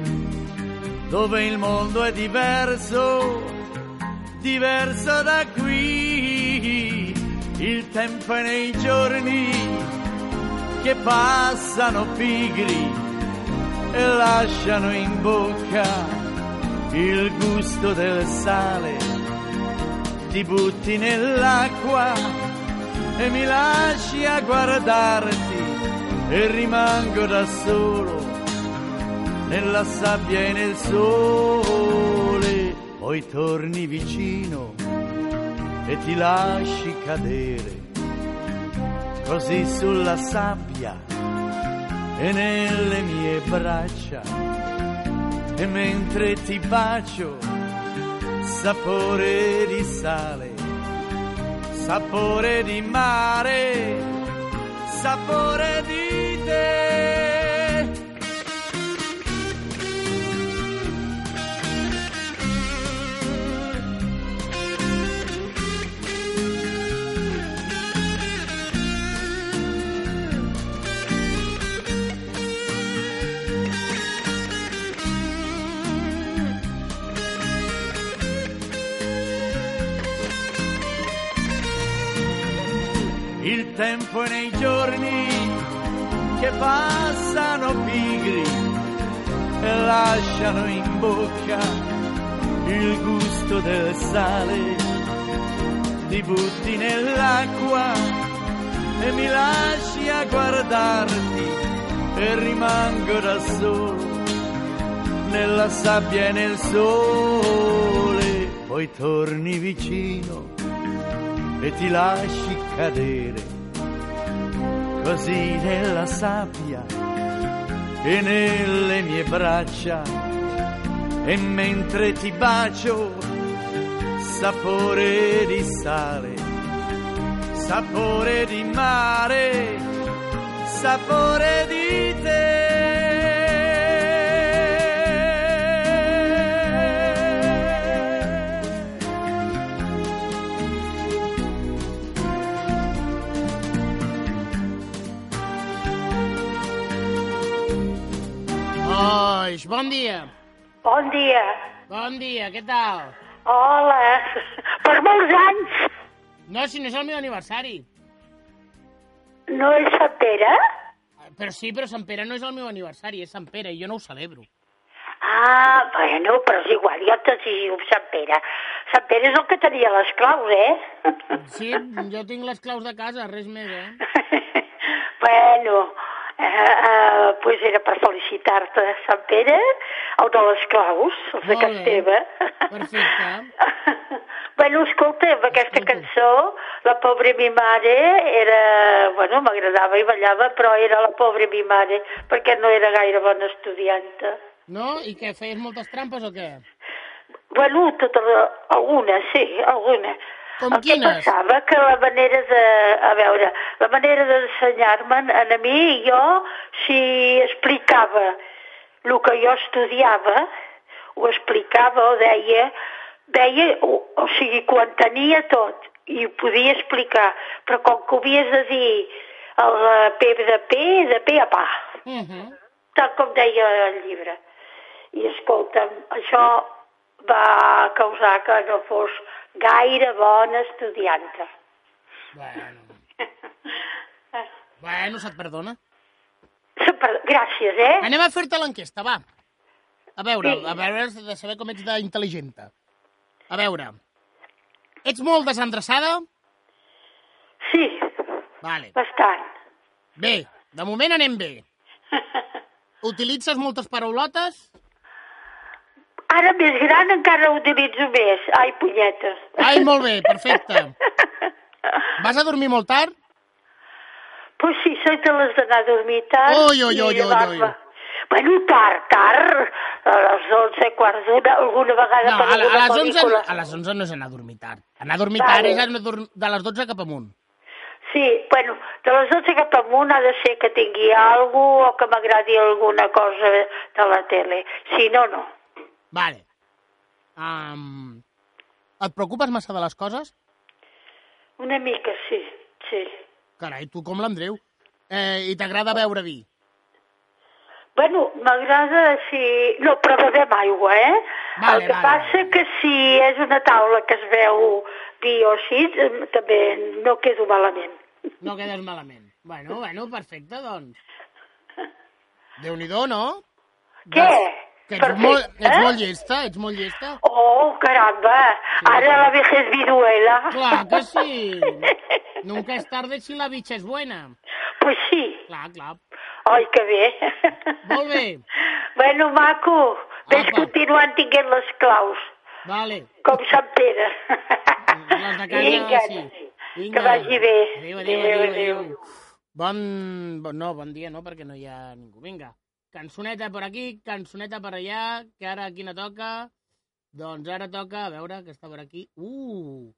S23: dove il mondo è diverso, diverso da qui, il tempo è nei giorni che passano pigri e lasciano in bocca il gusto del sale ti butti nell'acqua e mi lasci a guardarti e rimango da solo nella sabbia e nel sole. Poi torni vicino e ti lasci cadere così sulla sabbia e nelle mie braccia. E mentre ti bacio sapore di sale, sapore di mare, sapore di te. Il tempo è nei giorni che passano pigri e lasciano in bocca il gusto del sale. Ti butti nell'acqua e mi lasci a guardarti e rimango da solo nella sabbia e nel sole. Poi torni vicino e ti lasci cadere così nella sabbia e nelle mie braccia e mentre ti bacio sapore di sale sapore di mare sapore di te
S2: Oix, bon dia.
S24: Bon dia.
S2: Bon dia, què tal?
S24: Hola. Per molts anys.
S2: No, si no és el meu aniversari.
S24: No és Sant Pere?
S2: Però sí, però Sant Pere no és el meu aniversari, és Sant Pere i jo no ho celebro.
S24: Ah, bueno, però és igual, jo t'exigiu Sant Pere. Sant Pere és el que tenia les claus, eh?
S2: Sí, jo tinc les claus de casa, res més, eh?
S24: [laughs] Bueno, eh, eh, pues era per felicitar-te, Sant Pere, el de les claus, els de Can Teva. Perfecte. bueno, escolta, amb aquesta cançó, la pobra mi mare era... Bueno, m'agradava i ballava, però era la pobra mi mare, perquè no era gaire bona estudianta.
S2: No? I què, feies moltes trampes o què?
S24: Bueno, tota la... alguna, sí, alguna.
S2: Com
S24: el
S2: quines?
S24: que passava que la manera de... A veure, la manera d'ensenyar-me'n a mi, jo, si explicava el que jo estudiava, ho explicava o deia, deia o, o sigui, que ho entenia tot i ho podia explicar, però com que ho havies de dir a la P de P, de P a pa
S23: Mm -hmm.
S24: tal com deia el llibre. I escolta'm, això va causar que no fos gaire bona estudianta.
S2: Bueno. bueno, se't perdona.
S24: Super, gràcies, eh?
S2: Anem a fer-te l'enquesta, va. A veure,
S24: Sí.
S2: sí. a veure, has de saber com ets d'intel·ligenta. A veure, ets molt desendreçada?
S24: Sí.
S2: Vale.
S24: Bastant.
S2: Bé, de moment
S24: [laughs]
S2: anem bé. Utilitzes moltes paraulotes?
S24: ara més gran encara ho utilitzo més. Ai, punyetes.
S2: Ai, molt bé, perfecte. Vas a dormir molt tard?
S24: Pues sí, soy de les d'anar a dormir tard.
S2: Oi, oi, oi,
S24: i
S2: oi, oi.
S24: llevar-me. Bueno, tard, tard, a les 11, quarts d'una, alguna vegada
S2: No,
S24: per
S2: a, la- a,
S24: alguna
S2: les 11,
S24: pel·lícula.
S2: a les 11 no és anar a dormir tard. Anar a dormir
S24: Vale.
S2: tard és anar a dormir de les 12 cap amunt.
S24: Sí, bueno, de les 12 cap amunt ha de ser que tingui algú o que m'agradi alguna cosa de la tele. Si no, no.
S2: Vale. Um, et preocupes massa de les coses?
S24: Una mica, sí, sí.
S2: Carai, tu com l'Andreu. Eh, I t'agrada beure vi?
S24: Bueno, m'agrada si... No, però bevem aigua, eh?
S2: Vale,
S24: El que
S2: vale,
S24: passa que si és una taula que es veu vi o així, eh, també no quedo malament.
S2: No quedes malament. Bueno, bueno, perfecte, doncs. Déu-n'hi-do, no? Doncs,
S24: Què?
S2: Que ets,
S24: Perfecte,
S2: molt, ets
S24: eh?
S2: molt llesta, ets molt llesta.
S24: Oh, caramba, ara la vejez viruela.
S2: Clar que sí. Nunca es tarde si la bitxa és buena.
S24: Pues sí.
S2: Clar, clar.
S24: Ai, que bé.
S2: Molt bé.
S24: [laughs] Bueno, maco, ves continuant tinguent les claus,
S2: Vale.
S24: com Sant Pere.
S2: Les de casa,
S24: Vinga,
S2: sí.
S24: que vagi bé.
S2: Adéu, adéu, adéu, adéu. Bon... bon- No, bon dia no, perquè no hi ha ningú. Vinga, cançoneta per aquí, cançoneta per allà, que ara quina toca? Doncs ara toca, a veure, que està per aquí. Uh!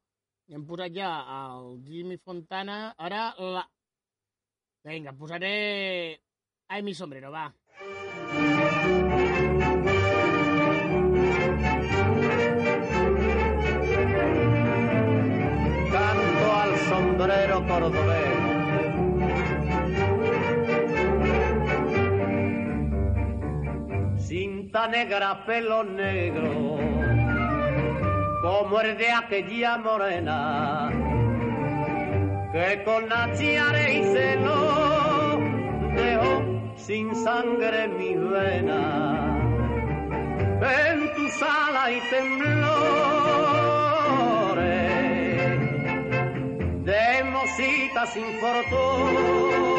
S2: Hem posat ja el Jimmy Fontana. Ara la... Vinga, posaré... Ai, mi sombrero, va.
S15: Canto al sombrero cordobés. Cinta negra, pelo negro, como el de aquella morena, que con achiare y celo dejó sin sangre mi vena. En tu sala y temblores, de mosita sin fortuna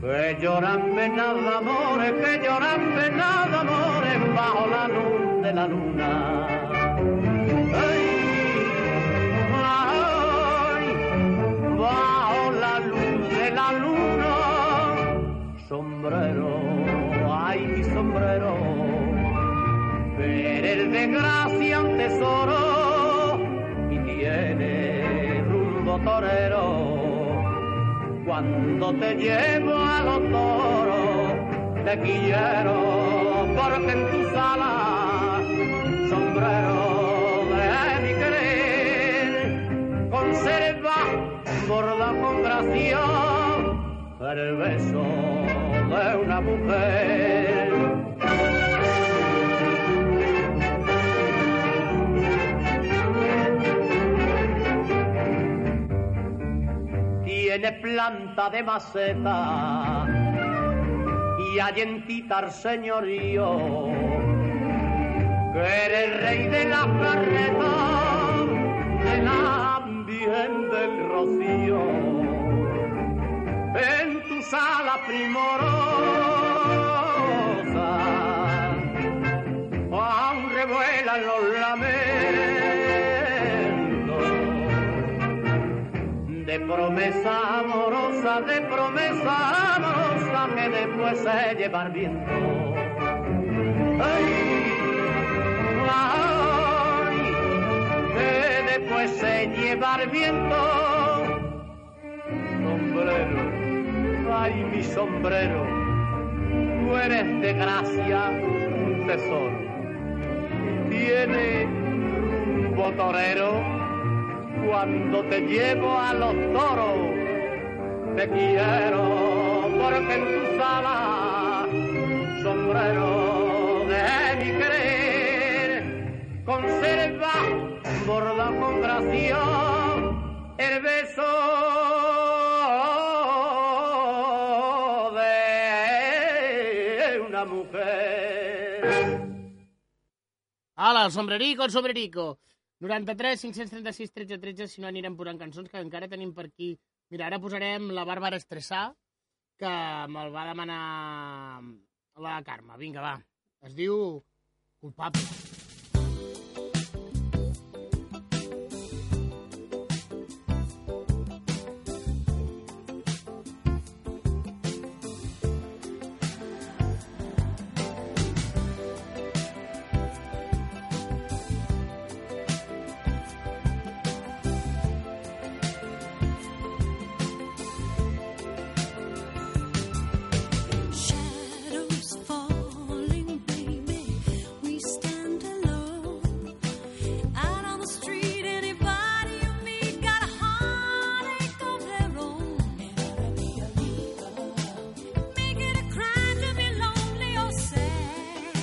S15: que lloran venados amores, que lloran venados amores bajo la luz de la luna. Ay, ay, bajo la luz de la luna, sombrero, ay mi sombrero, eres de gracia un tesoro y tiene rumbo torero cuando te llevo a los toros, te quiero porque en tu sala, sombrero de mi querer, conserva por la congración el beso de una mujer. tiene planta de maceta y allí en Titar señorío que eres rey de la carreta de la virgen del rocío en tu sala primorosa aún revuelan los lamentos de promesa amorosa, de promesa amorosa que después se lleva el viento. Ay, ay, que después se lleva el viento. Sombrero, ay mi sombrero, tú eres de gracia un tesoro. Tiene rumbo torero cuando te llevo a los toros. Te quiero porque en tu sala, sombrero de mi querer, conserva por la congración el beso de una mujer.
S2: Hola, el sombrerico, el sombrerico. 93, 536, 13, 13, si no anirem posant cançons, que encara tenim per aquí. Mira, ara posarem la Bàrbara Estressà, que me'l va demanar la Carme. Vinga, va. Es diu culpable.
S25: Shadows falling, baby. We stand alone. Out on the street, anybody you meet got a heartache of their own. Never be a leader. Make it a crime to be lonely or sad.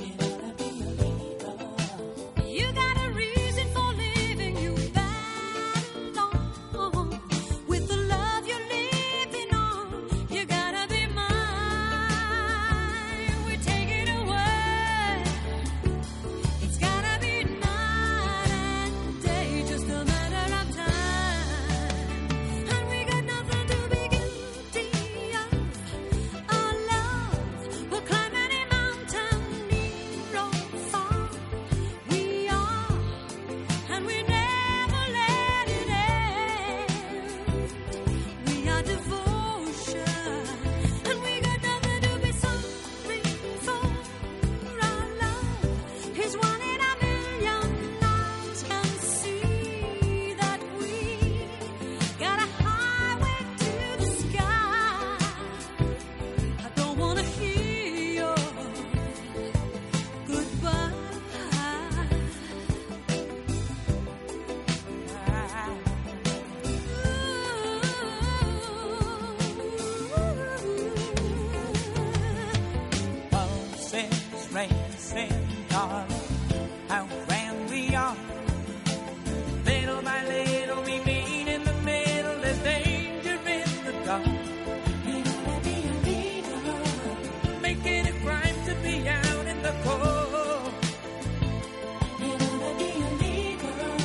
S25: Never be a leader. You got a reason for living. You battle on with the love you're living on. You gotta be mine. We take it away. It's gotta be night and day, just a matter of time. And we got nothing to be guilty of. Our love will climb any mountain, near or far. We are, and we never let it end. We are devotion, and we got nothing to be sorry for. Our love is one in a million. Eyes can see that we got a highway to the sky. I don't wanna hear your goodbye.
S17: Pulses racing, darling, how grand we are. Little by little we meet in the middle, there's danger in the dark. We gotta be a leader. Make it a crime to be out in the cold. We gotta be a leader.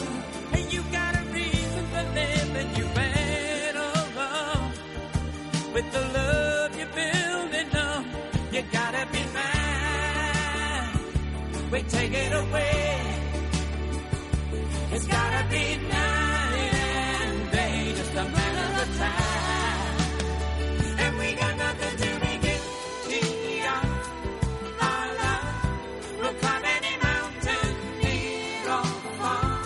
S17: And you got a reason for living, you better run. With the love you're building up, you gotta be mine. We take it away. It's gotta be night and day, just a matter of time. And we got nothing to be guilty of. Our love will climb any mountain, near or far.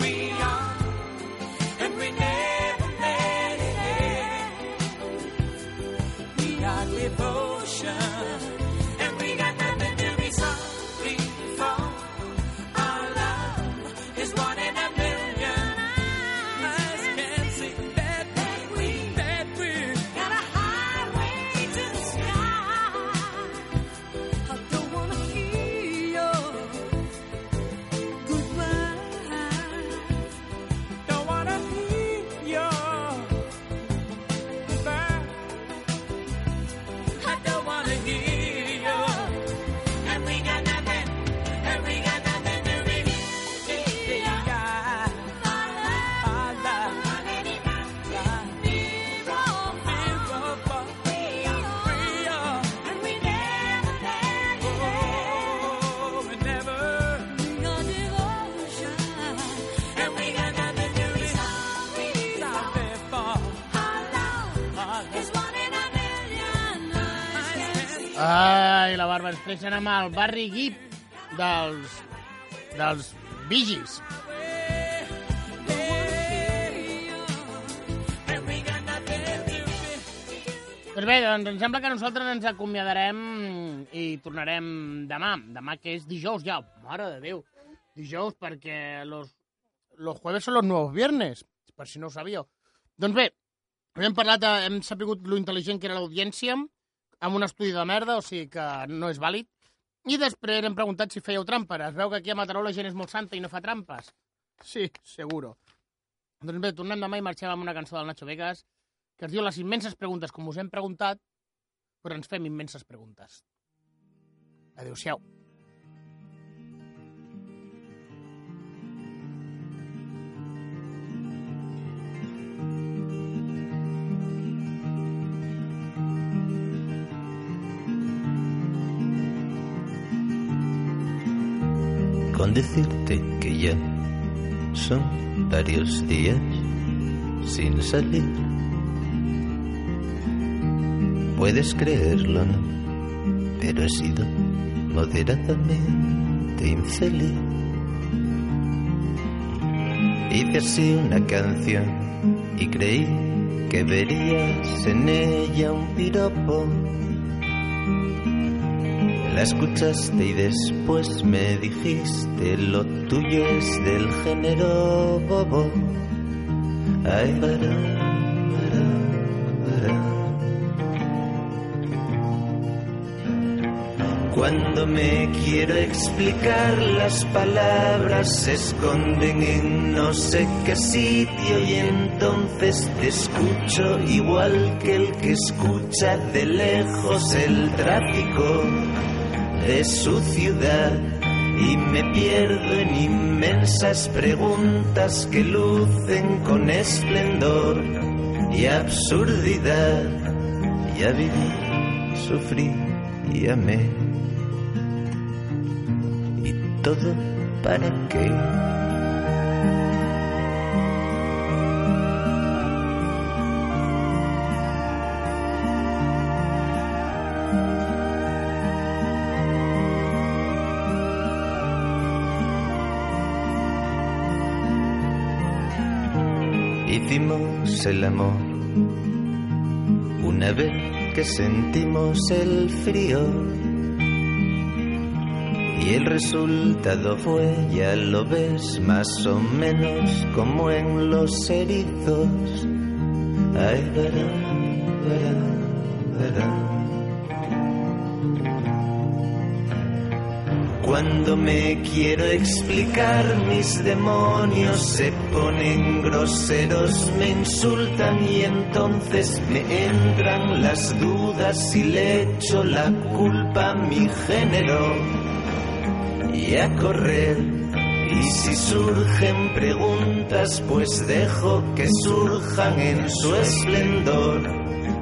S17: We are, and we never let it end. We are devotion, and we got nothing to be sorry for. Our love is one in a million. Eyes can see that that we that we got a highway to the sky. I don't wanna hear your goodbye. Don't wanna hear your goodbye. I don't wanna hear you. And we got nothing. And we got nothing to reveal. Our love. And we never let you go. We never. Your devotion. And we got nothing to be sorry for. Our love is one in a million.
S2: Ai, la Barba Streisand amb el Barry Gibb dels, dels Bigis. Doncs bé, doncs em sembla que nosaltres ens acomiadarem i tornarem demà. Demà que és dijous ja, mare de Déu. Dijous perquè los, los jueves son los nuevos viernes, per si no ho sabíeu. Doncs bé, hem parlat, eh, hem sabut lo intel·ligent que era l'audiència, amb un estudi de merda, o sigui que no és vàlid. I després hem preguntat si fèieu trampes. Es veu que aquí a Mataró la gent és molt santa i no fa trampes. Sí, seguro. Doncs bé, tornem demà i marxem amb una cançó del Nacho Vegas que es diu Les immenses preguntes, com us hem preguntat, però ens fem immenses preguntes. Adéu-siau.
S26: con decirte que ya son varios días sin salir. Puedes creerlo, ¿no? Pero he sido moderadamente infeliz. Hice así una canción y creí que verías en ella un piropo. La escuchaste y después me dijiste lo tuyo es del género bobo. Ay, bará, bará, bará. Cuando me quiero explicar, las palabras se esconden en no sé qué sitio y entonces te escucho igual que el que escucha de lejos el tráfico de su ciudad y me pierdo en inmensas preguntas que lucen con esplendor y absurdidad. Ya viví, sufrí y amé. ¿Y todo para qué? Hicimos el amor una vez que sentimos el frío y el resultado fue, ya lo ves, más o menos como en los erizos. Ay, verá, verá, verá. Cuando me quiero explicar mis demonios se ponen groseros, me insultan y entonces me entran las dudas y le echo la culpa a mi género y a correr. Y si surgen preguntas, pues dejo que surjan en su esplendor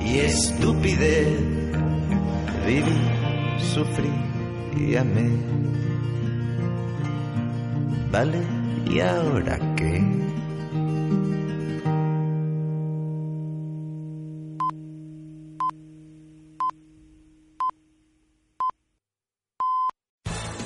S26: y estupidez. Viví, sufrí y amé. ¿Vale? ¿Y ahora qué?